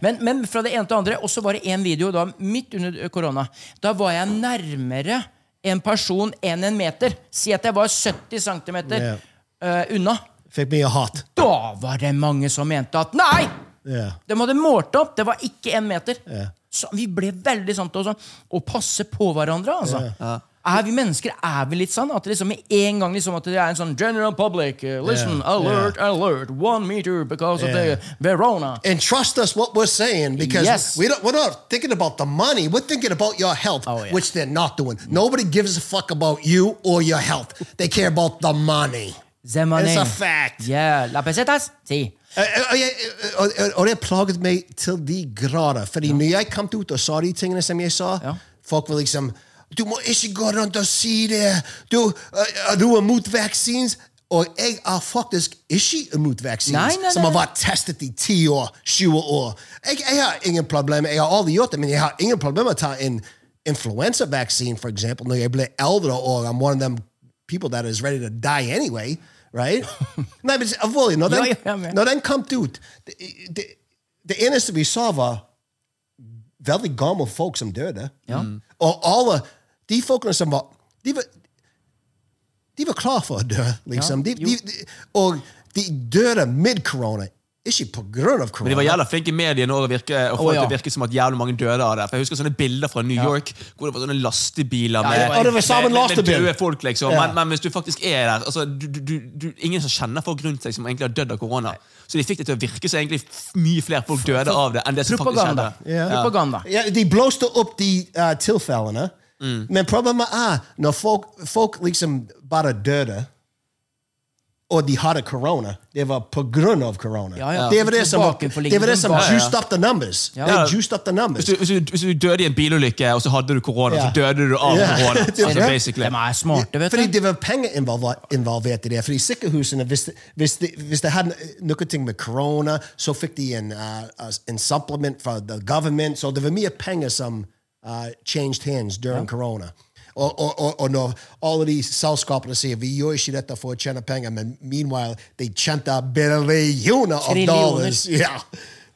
Speaker 3: Men, men fra det ene til det andre, og så var det en video da, midt under ø, korona. Da var jeg nærmere en person enn en meter. Si at jeg var 70 cm
Speaker 4: Ja.
Speaker 3: unna.
Speaker 4: Fikk mye hat.
Speaker 3: Da var det mange som mente at nei!
Speaker 4: Yeah.
Speaker 3: De hadde målt opp, det var ikke en meter.
Speaker 4: Ja.
Speaker 3: Så vi ble veldig sånn til å sånn, å passe på hverandre, altså. Er vi mennesker er vi litt sånn? At det liksom med en gang liksom at det er en sånn general public, eh, listen,
Speaker 4: Ja.
Speaker 3: alert, alert, one meter because
Speaker 4: Ja.
Speaker 3: of the Verona.
Speaker 4: And trust us what we're saying because
Speaker 3: Yes.
Speaker 4: we don't, we're not thinking about the money. We're thinking about your health,
Speaker 3: Oh, yeah.
Speaker 4: which they're not doing. Nobody gives a fuck about you or your health. They care about the money.
Speaker 3: The money.
Speaker 4: It's a fact.
Speaker 3: Yeah, la pesetas. Si.
Speaker 4: Eh, eh, eh, Og og- og det plaget meg til de grader. Fordi når jeg kom ut og sa de tingene som jeg sa,
Speaker 3: Ja.
Speaker 4: folk var liksom Du må ikke gå rundt og si det! Du, eh, du er mot vaksines! Og jeg er faktisk ikke imot
Speaker 3: Nei,
Speaker 4: vaksines,
Speaker 3: nei,
Speaker 4: som
Speaker 3: nei,
Speaker 4: har vært testet i 10 år, 20 år. Jeg, jeg har ingen problemer. Jeg har aldri gjort det, men jeg har ingen problemer med å ta en influensavaksine, for eksempel, når jeg blir eldre og I'm one of them people that is ready to die anyway, right? nei, men alvorlig, når
Speaker 3: Ja, ja, ja,
Speaker 4: den,
Speaker 3: men-
Speaker 4: når den kom ut det, det, det eneste vi sa, var veldig gamle folk som døde.
Speaker 3: Mm.
Speaker 4: Og alle de folkene som var De var, de var klar for å dø, liksom. de, de, de, og de døde mid-korona, ikke på grunn av korona.
Speaker 5: Men de var jævla flinke i mediene også å virke, og
Speaker 3: Å,
Speaker 5: få det til
Speaker 3: ja.
Speaker 5: å virke som at jævlig mange døde av det. For Jeg husker sånne bilder fra New York hvor det var sånne lastebiler med,
Speaker 3: det var- Ja,
Speaker 4: det var sammen
Speaker 5: med, med, med
Speaker 4: lastebil.
Speaker 5: døde folk. liksom.
Speaker 4: Ja.
Speaker 5: Men, men hvis du faktisk er der altså, du, du, du, du, Ingen som kjenner folk rundt seg som egentlig har dødd av korona. Så de fikk det til å virke så egentlig f- mye flere folk døde av det enn det som faktisk skjedde.
Speaker 3: Propaganda. Propaganda.
Speaker 4: Ja, de blåste opp de eh, tilfellene.
Speaker 3: Mm.
Speaker 4: ah, Men problemet er når folk, folk liksom bare døde, or de hadde corona. Det var på grunn av corona.
Speaker 3: Ja, ja.
Speaker 4: Det var det som,
Speaker 3: Bakenforliggende
Speaker 4: det var det som
Speaker 3: bak.
Speaker 4: juiced up the numbers.
Speaker 3: Ja.
Speaker 4: They juiced up the numbers.
Speaker 5: Hvis du, hvis, du, hvis du døde i en bilulykke, og så hadde du korona, så
Speaker 4: Ja.
Speaker 5: døde du av
Speaker 4: Ja.
Speaker 5: korona.
Speaker 4: Det er
Speaker 5: Altså,
Speaker 4: det.
Speaker 5: basically.
Speaker 3: De er smarte, vet
Speaker 4: Fordi
Speaker 3: du.
Speaker 4: det var penger involver- involvert i det. Fordi sykehusene, hvis det, hvis det, hvis det hadde noe ting med korona, så fikk de en, uh, uh, en supplement fra the government. Så det var mye penger som uh, changed hands during korona. Og, og, og, og når alle de selskapene sier vi gjør ikke dette for å tjene penger, men meanwhile, de tjente billioner av
Speaker 3: Trillioner.
Speaker 4: dollars ja,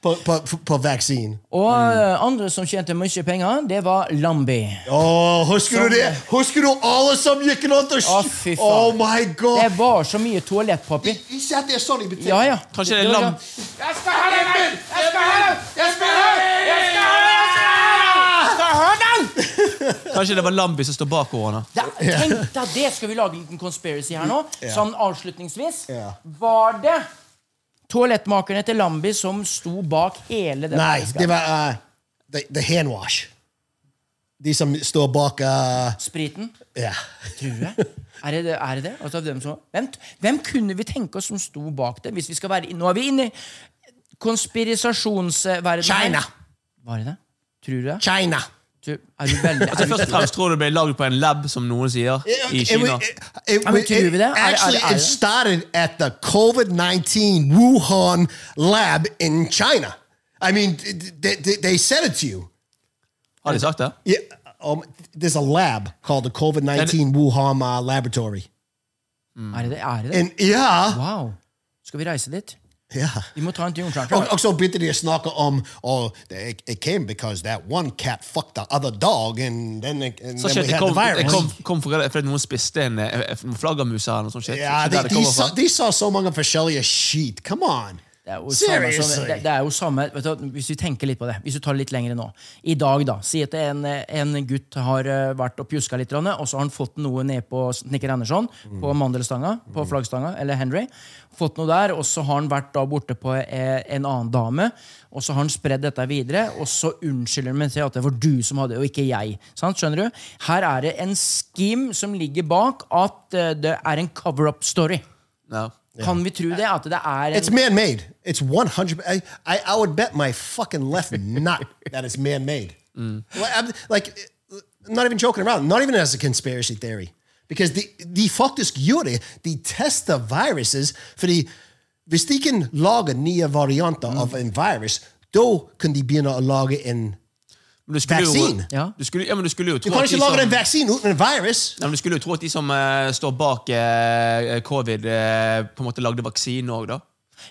Speaker 4: på, på, på vaksine.
Speaker 3: Og eh, andre som tjente mye penger, det var Lambi.
Speaker 4: Åh, husker du det? Husker du alle som gikk rundt og
Speaker 3: Å, fy faen.
Speaker 4: Oh my god!
Speaker 3: Det er var så mye toalettpapir.
Speaker 4: Vi satt der sånn i butikken.
Speaker 3: Ja, ja.
Speaker 5: Kanskje det er lam... Kanskje det var Lambi som står bak korona.
Speaker 3: Da, tenk deg det! Skal vi lage en liten conspiracy her nå? Sånn avslutningsvis.
Speaker 4: Ja.
Speaker 3: Var det toalettmakerne til Lambi som sto bak hele den
Speaker 4: Nei,
Speaker 3: eska?
Speaker 4: det var uh, the, the hand wash. De som står bak uh,
Speaker 3: Spriten?
Speaker 4: Ja.
Speaker 3: Tror jeg. Er det det? Er det det? Altså, hvem, som, hvem, hvem kunne vi tenke oss som sto bak det? Hvis vi skal være, i- nå er vi inne i konspirasjonsverdenen.
Speaker 4: China!
Speaker 3: Var det det? Tror du det?
Speaker 4: China!
Speaker 3: Tror- Er du veldig
Speaker 5: Altså, først og fremst tror jeg det ble lagd på en lab, som noen sier, i Kina.
Speaker 3: Ja, men tror vi det? Er det- er
Speaker 4: actually,
Speaker 3: det- er
Speaker 4: it
Speaker 3: det?
Speaker 4: started at the COVID-19 Wuhan lab in China. I mean, they, they, they said it to you.
Speaker 5: Har de sagt det?
Speaker 4: Yeah, um, there's a lab called the COVID-19 Wuhan uh, Laboratory.
Speaker 3: Er det det? Er det det?
Speaker 4: And yeah,
Speaker 3: Wow. Skal vi reise dit?
Speaker 4: yeah.
Speaker 3: Vi må ta en tur.
Speaker 4: Og, og så begynte de å snakke om oh, it, it came because that one cat fucked the other dog and then, it, and
Speaker 5: Så
Speaker 4: then we
Speaker 5: shit, det
Speaker 4: had
Speaker 5: kom,
Speaker 4: the
Speaker 5: det
Speaker 4: virus.
Speaker 5: kom, kom fordi fordi noen spiste en, eh, en flaggermus eller noe sånt. shit.
Speaker 4: ja,
Speaker 5: Så der
Speaker 4: de,
Speaker 5: det
Speaker 4: de,
Speaker 5: kommer
Speaker 4: sa,
Speaker 5: fra.
Speaker 4: de sa så mange forskjellige skit. Come on!
Speaker 3: Det er jo samme, som,
Speaker 4: Seriously!
Speaker 3: det, det er jo samme vet du, hva, Hvis vi tenker litt på det, hvis du tar det litt lenger nå I dag, da. Si at en, en gutt har eh, vært og pjuska litt, grann, og så har han fått noe ned på snekker Andersson,
Speaker 4: Mm.
Speaker 3: på mandelstanga, på flaggstanga, eller Henry. Fått noe der, og så har han vært da borte på eh, en annen dame, og så har han spredd dette videre, og så unnskylder han med til at det var du som hadde det, og ikke jeg. Sant? Skjønner du? Her er det en skim som ligger bak at eh, det er en cover-up-story.
Speaker 5: Ja.
Speaker 3: Kan vi tro det? At det er en
Speaker 4: It's man-made. It's 100... I, I, I would bet my fucking left nut that it's man-made. Like, I'm, like, I'm not even joking around. Not even as a conspiracy theory. Because the, de faktisk gjør det. De tester viruses, fordi hvis de kan lage nye varianter av en virus, da kan de begynne å lage en...
Speaker 5: Men du skulle
Speaker 4: Vaccine?
Speaker 5: Jo,
Speaker 3: Ja.
Speaker 5: du, skulle, ja, men du skulle jo
Speaker 4: Du
Speaker 5: tro
Speaker 4: kan
Speaker 5: at de
Speaker 4: ikke lage
Speaker 5: som-
Speaker 4: en vaksine uten en virus.
Speaker 5: Ja, men Du skulle jo tro at de som eh, står bak eh, covid, eh, på en måte lagde vaksine òg, da.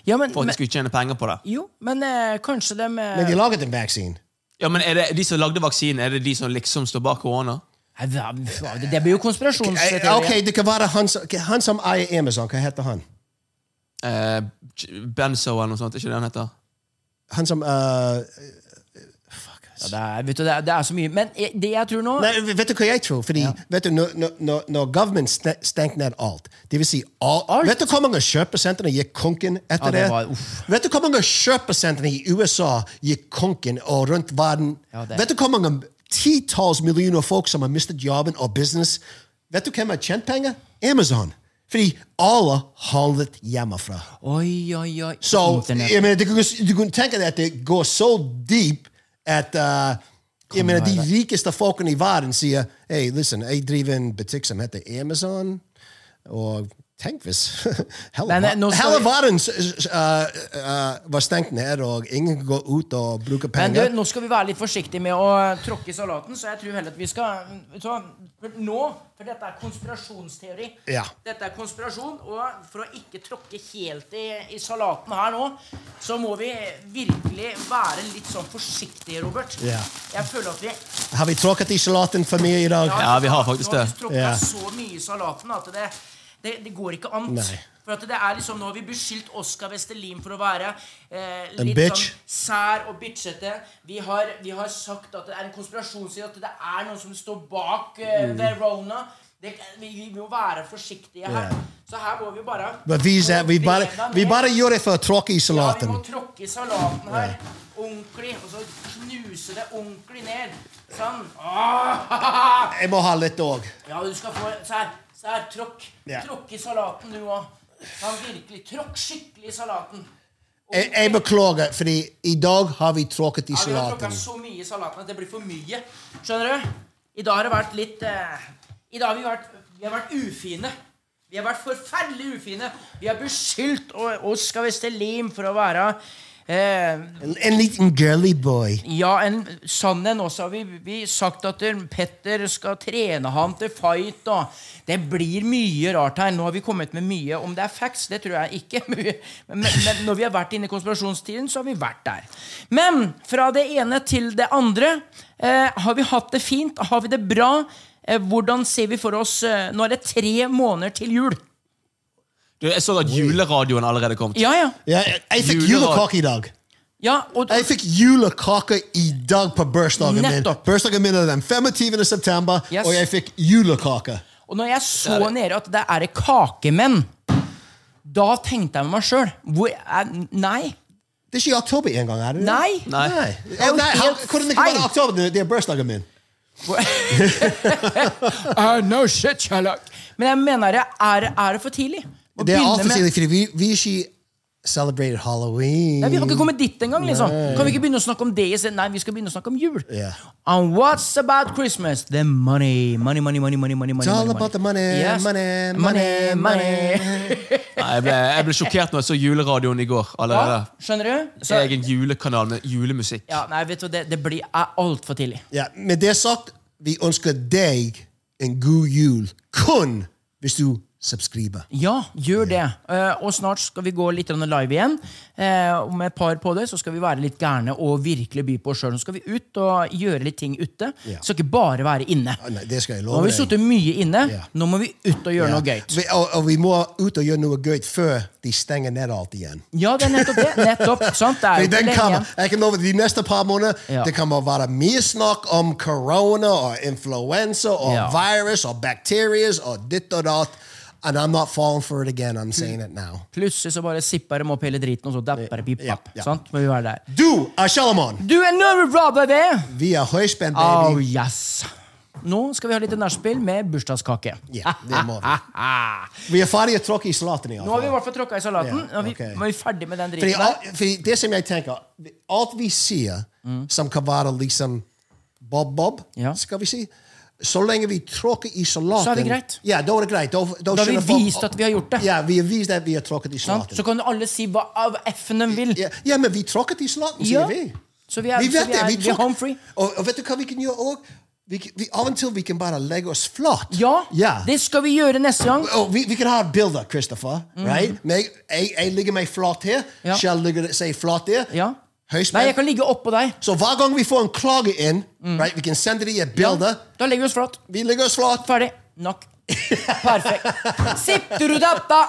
Speaker 3: Ja, men,
Speaker 5: For at
Speaker 3: men,
Speaker 5: de skulle tjene penger på det.
Speaker 3: jo, men eh, kanskje de eh,
Speaker 4: Men de laget en vaksine.
Speaker 5: Ja, men er det De som lagde vaksinen, er det de som liksom står bak korona?
Speaker 3: Nei, hva- hva- Det det blir jo
Speaker 4: Eh,
Speaker 3: konspirasjonsteori.
Speaker 4: Ok, det kan være han, som- han som eier Amazon. Hva heter han?
Speaker 5: Eh, Benzo eller noe sånt, er ikke det han heter?
Speaker 4: Han som... eh,
Speaker 3: Ja, det, er, vet du, det, er, det er så mye. Men eh, det jeg tror nå
Speaker 4: Nei, vet du hva jeg tror? Fordi, vet du, når, når- når, når government sten- stengte ned alt, det vil si all, Vet du hvor mange kjøpesentrene gikk konken etter
Speaker 3: Ja,
Speaker 4: det?
Speaker 3: det var- uff.
Speaker 4: vet du hvor mange kjøpesentrene i USA gikk konken og rundt verden?
Speaker 3: Ja, det-
Speaker 4: Vet du hvor mange titalls millioner folk som har mistet jobben og business? Vet du hvem har tjent penger? Amazon. Fordi alle handlet hjemmefra.
Speaker 3: Oi, oi, oi.
Speaker 4: Så jeg
Speaker 3: Internett.
Speaker 4: mener, du, kan- du kan tenke deg at det går så deep at uh, jeg mener, de rikeste folkene i verden sier hey, listen, jeg driver en butikk som heter Amazon. Og tenk hvis Hele
Speaker 3: Nei, nei, nå
Speaker 4: ver-
Speaker 3: skal
Speaker 4: hele
Speaker 3: vi-
Speaker 4: verden s- uh, uh, var stengt ned, og ingen kan gå ut og bruke
Speaker 3: Men du,
Speaker 4: penger.
Speaker 3: nå skal vi være litt forsiktige med å eh, tråkke i salaten, så jeg tror heller at vi skal vet du, hva, for Nå, for dette er konspirasjonsteori.
Speaker 4: Ja.
Speaker 3: Dette er konspirasjon, og for å ikke tråkke helt i, i salaten her nå, så må vi virkelig være litt sånn forsiktige, Robert.
Speaker 4: Ja.
Speaker 3: Jeg føler at vi
Speaker 4: Har vi tråkket i salaten for mye i dag?
Speaker 5: Ja, vi har faktisk
Speaker 3: Nå har
Speaker 5: det.
Speaker 3: vi tråkket
Speaker 4: Ja.
Speaker 3: så mye i salaten at det, det, det går ikke an.
Speaker 4: Nei.
Speaker 3: For at det er liksom, Nå har vi beskyldt Oskar Vestelin for å være eh,
Speaker 4: En
Speaker 3: litt
Speaker 4: bitch.
Speaker 3: sånn sær og bitchete. Vi har, vi har sagt at det er en konspirasjonsside, at det er noen som står bak eh,
Speaker 4: Mm.
Speaker 3: Verona. Det, vi, vi må være forsiktige her.
Speaker 4: Ja.
Speaker 3: Så her må vi bare
Speaker 4: Men vi, sier- vi, bare, vi bare gjør det for å tråkke i
Speaker 3: ja, vi
Speaker 4: salaten.
Speaker 3: må tråkke i salaten her. Ordentlig. Og så knuse det ordentlig ned. Sånn. Ah!
Speaker 4: Jeg må ha litt òg.
Speaker 3: Ja, du skal få Sær, sær, tråkk.
Speaker 4: Ja.
Speaker 3: Tråkk i salaten, du òg. Så han virkelig tråkk skikkelig i salaten. Og-
Speaker 4: Jeg, jeg beklager, fordi i dag har vi tråkket i
Speaker 3: Ja, vi har tråkka
Speaker 4: salaten.
Speaker 3: så mye i salaten at det blir for mye. Skjønner du? I dag har det vært litt eh, I dag har vi vært, vi har vært ufine. Vi har vært forferdelig ufine. Vi har beskyldt O- Oskar Westerlin for å være eh,
Speaker 4: En, en liten girly boy.
Speaker 3: Ja, en sann en også. har Vi, vi sagt at Petter skal trene ham til fight. Og det blir mye rart her. Nå har vi kommet med mye. Om det er facts, det tror jeg ikke. Men, men, men når vi har vært inne i konspirasjonstiden, så har vi vært der. Men fra det ene til det andre. Eh, har vi hatt det fint? Har vi det bra? Eh, hvordan ser vi for oss eh, Nå er det tre måneder til jul.
Speaker 5: Du, jeg så at juleradioen allerede kom.
Speaker 3: Ja, ja.
Speaker 4: Ja, jeg, jeg fikk
Speaker 5: Julekake.
Speaker 4: julekake i dag.
Speaker 3: ja og,
Speaker 4: Jeg fikk julekake i dag på bursdagen min.
Speaker 3: Nettopp.
Speaker 4: Bursdagen min er den 25. september, Oh,
Speaker 3: Yes.
Speaker 4: og jeg fikk julekake.
Speaker 3: Og når jeg så nede at det er kakemenn, da tenkte jeg med meg sjøl Hvor er Nei.
Speaker 4: Det er ikke i oktober engang, er det? det?
Speaker 3: Nei.
Speaker 5: Nei.
Speaker 4: Nei. Oh,
Speaker 3: er jo
Speaker 4: Å, nei,
Speaker 3: helt
Speaker 4: han- hvordan det ikke
Speaker 3: feil.
Speaker 4: være i oktober? Det- Det er bursdagen min.
Speaker 3: Ah, no shit, Sherlock. Men jeg mener, det er, er det for tidlig? å
Speaker 4: Det er
Speaker 3: begynne
Speaker 4: altfor
Speaker 3: med-
Speaker 4: tidlig, fordi vi, vi er ikke celebrated halloween.
Speaker 3: Nei, vi har ikke kommet dit engang. Liksom. Kan vi ikke begynne å snakke om det i stedet? Nei, vi skal begynne å snakke om jul.
Speaker 4: Ja.
Speaker 3: And what's about Christmas? The money. Money, money, money, money, money.
Speaker 4: It's all about the money,
Speaker 3: Yes.
Speaker 4: money,
Speaker 3: money.
Speaker 4: money,
Speaker 3: money.
Speaker 5: Nei, jeg, ble, jeg ble sjokkert når jeg så juleradioen i går. allerede.
Speaker 3: Ja, skjønner du?
Speaker 5: Så egen julekanal med julemusikk.
Speaker 3: ja, nei, vet du, hva, det, det blir er altfor tidlig.
Speaker 4: Ja, med det sagt, vi ønsker deg en god jul kun hvis du subscriber.
Speaker 3: Ja, gjør det. Eh, og snart skal vi gå litt grann live igjen. Eh, om et par på det, så skal vi være litt gærne og virkelig by på oss sjøl. Nå skal vi ut og gjøre litt ting ute.
Speaker 4: Ja.
Speaker 3: Skal ikke bare være inne.
Speaker 4: Nei, Ah, det skal jeg
Speaker 3: Nå har
Speaker 4: love
Speaker 3: vi sittet mye inne.
Speaker 4: Ja.
Speaker 3: Nå må vi ut og gjøre
Speaker 4: Ja.
Speaker 3: noe gøy.
Speaker 4: Vi, og, og vi må ut og gjøre noe gøy før de stenger ned alt igjen.
Speaker 3: Ja, det er nettopp det. Nettopp, sant? Det er
Speaker 4: Fordi
Speaker 3: jo ikke
Speaker 4: den
Speaker 3: lenge
Speaker 4: kommer,
Speaker 3: igjen.
Speaker 4: jeg kan love De neste par måneder
Speaker 3: Ja.
Speaker 4: det kommer å være mye snakk om korona og influensa og
Speaker 3: Ja.
Speaker 4: virus og bakterier og ditt og datt. And I'm not falling for it again. I'm saying it now.
Speaker 3: Plutselig så bare sipper de opp hele driten, og så dapper det
Speaker 4: Ja,
Speaker 3: pip-papp.
Speaker 4: ja.
Speaker 3: Sant? Må vi være der.
Speaker 4: Du er Shalomon.
Speaker 3: Du er never robber det!
Speaker 4: Vi er høyspent,
Speaker 3: Oh,
Speaker 4: baby.
Speaker 3: yes. Nå skal vi ha litt nachspiel med bursdagskake.
Speaker 4: Ja, det må vi. Vi er ferdige å tråkke i salaten. i alle
Speaker 3: Nå har vi i
Speaker 4: fall.
Speaker 3: hvert fall tråkka i salaten.
Speaker 4: Ja,
Speaker 3: Nå er vi,
Speaker 4: ok.
Speaker 3: nå er vi ferdig med den
Speaker 4: Fordi,
Speaker 3: driten. der.
Speaker 4: al- fordi det som jeg tenker Alt vi sier som kan være liksom bob-bob,
Speaker 3: Mm. Ja.
Speaker 4: skal vi si Så lenge vi tråkker i salaten
Speaker 3: Så er det greit.
Speaker 4: Ja, da er det greit. Da,
Speaker 3: Da har vi
Speaker 4: skjønner folk-
Speaker 3: vist at vi har gjort det.
Speaker 4: Ja, vi har vist at vi har tråkket i
Speaker 3: Sant?
Speaker 4: salaten.
Speaker 3: Så kan alle si hva av f-en de vil.
Speaker 4: ja, ja, men vi tråkket i salaten,
Speaker 3: Ja.
Speaker 4: sier vi.
Speaker 3: Så vi er,
Speaker 4: vi
Speaker 3: så
Speaker 4: vet
Speaker 3: vi er,
Speaker 4: det.
Speaker 3: vi
Speaker 4: Vi
Speaker 3: er
Speaker 4: tråkker-
Speaker 3: home free.
Speaker 4: Og, og vet du hva vi kan gjøre òg? Vi, kan- vi, av og til vi kan bare legge oss flat.
Speaker 3: Ja, det skal vi gjøre neste gang.
Speaker 4: Oh, vi, vi kan ha bilder, Christopher. Right? Men jeg, jeg, jeg ligger meg flat her.
Speaker 3: Mm. Ja.
Speaker 4: Kjell ligger seg flat der.
Speaker 3: Ja.
Speaker 4: Høyspent.
Speaker 3: Nei, jeg kan ligge oppå deg.
Speaker 4: Så hver gang vi får en klage inn, right, vi kan sende det i et bilde.
Speaker 3: Da legger vi oss flat.
Speaker 4: Vi legger oss flat.
Speaker 3: Ferdig. Nok. Perfekt. Sitter du dette?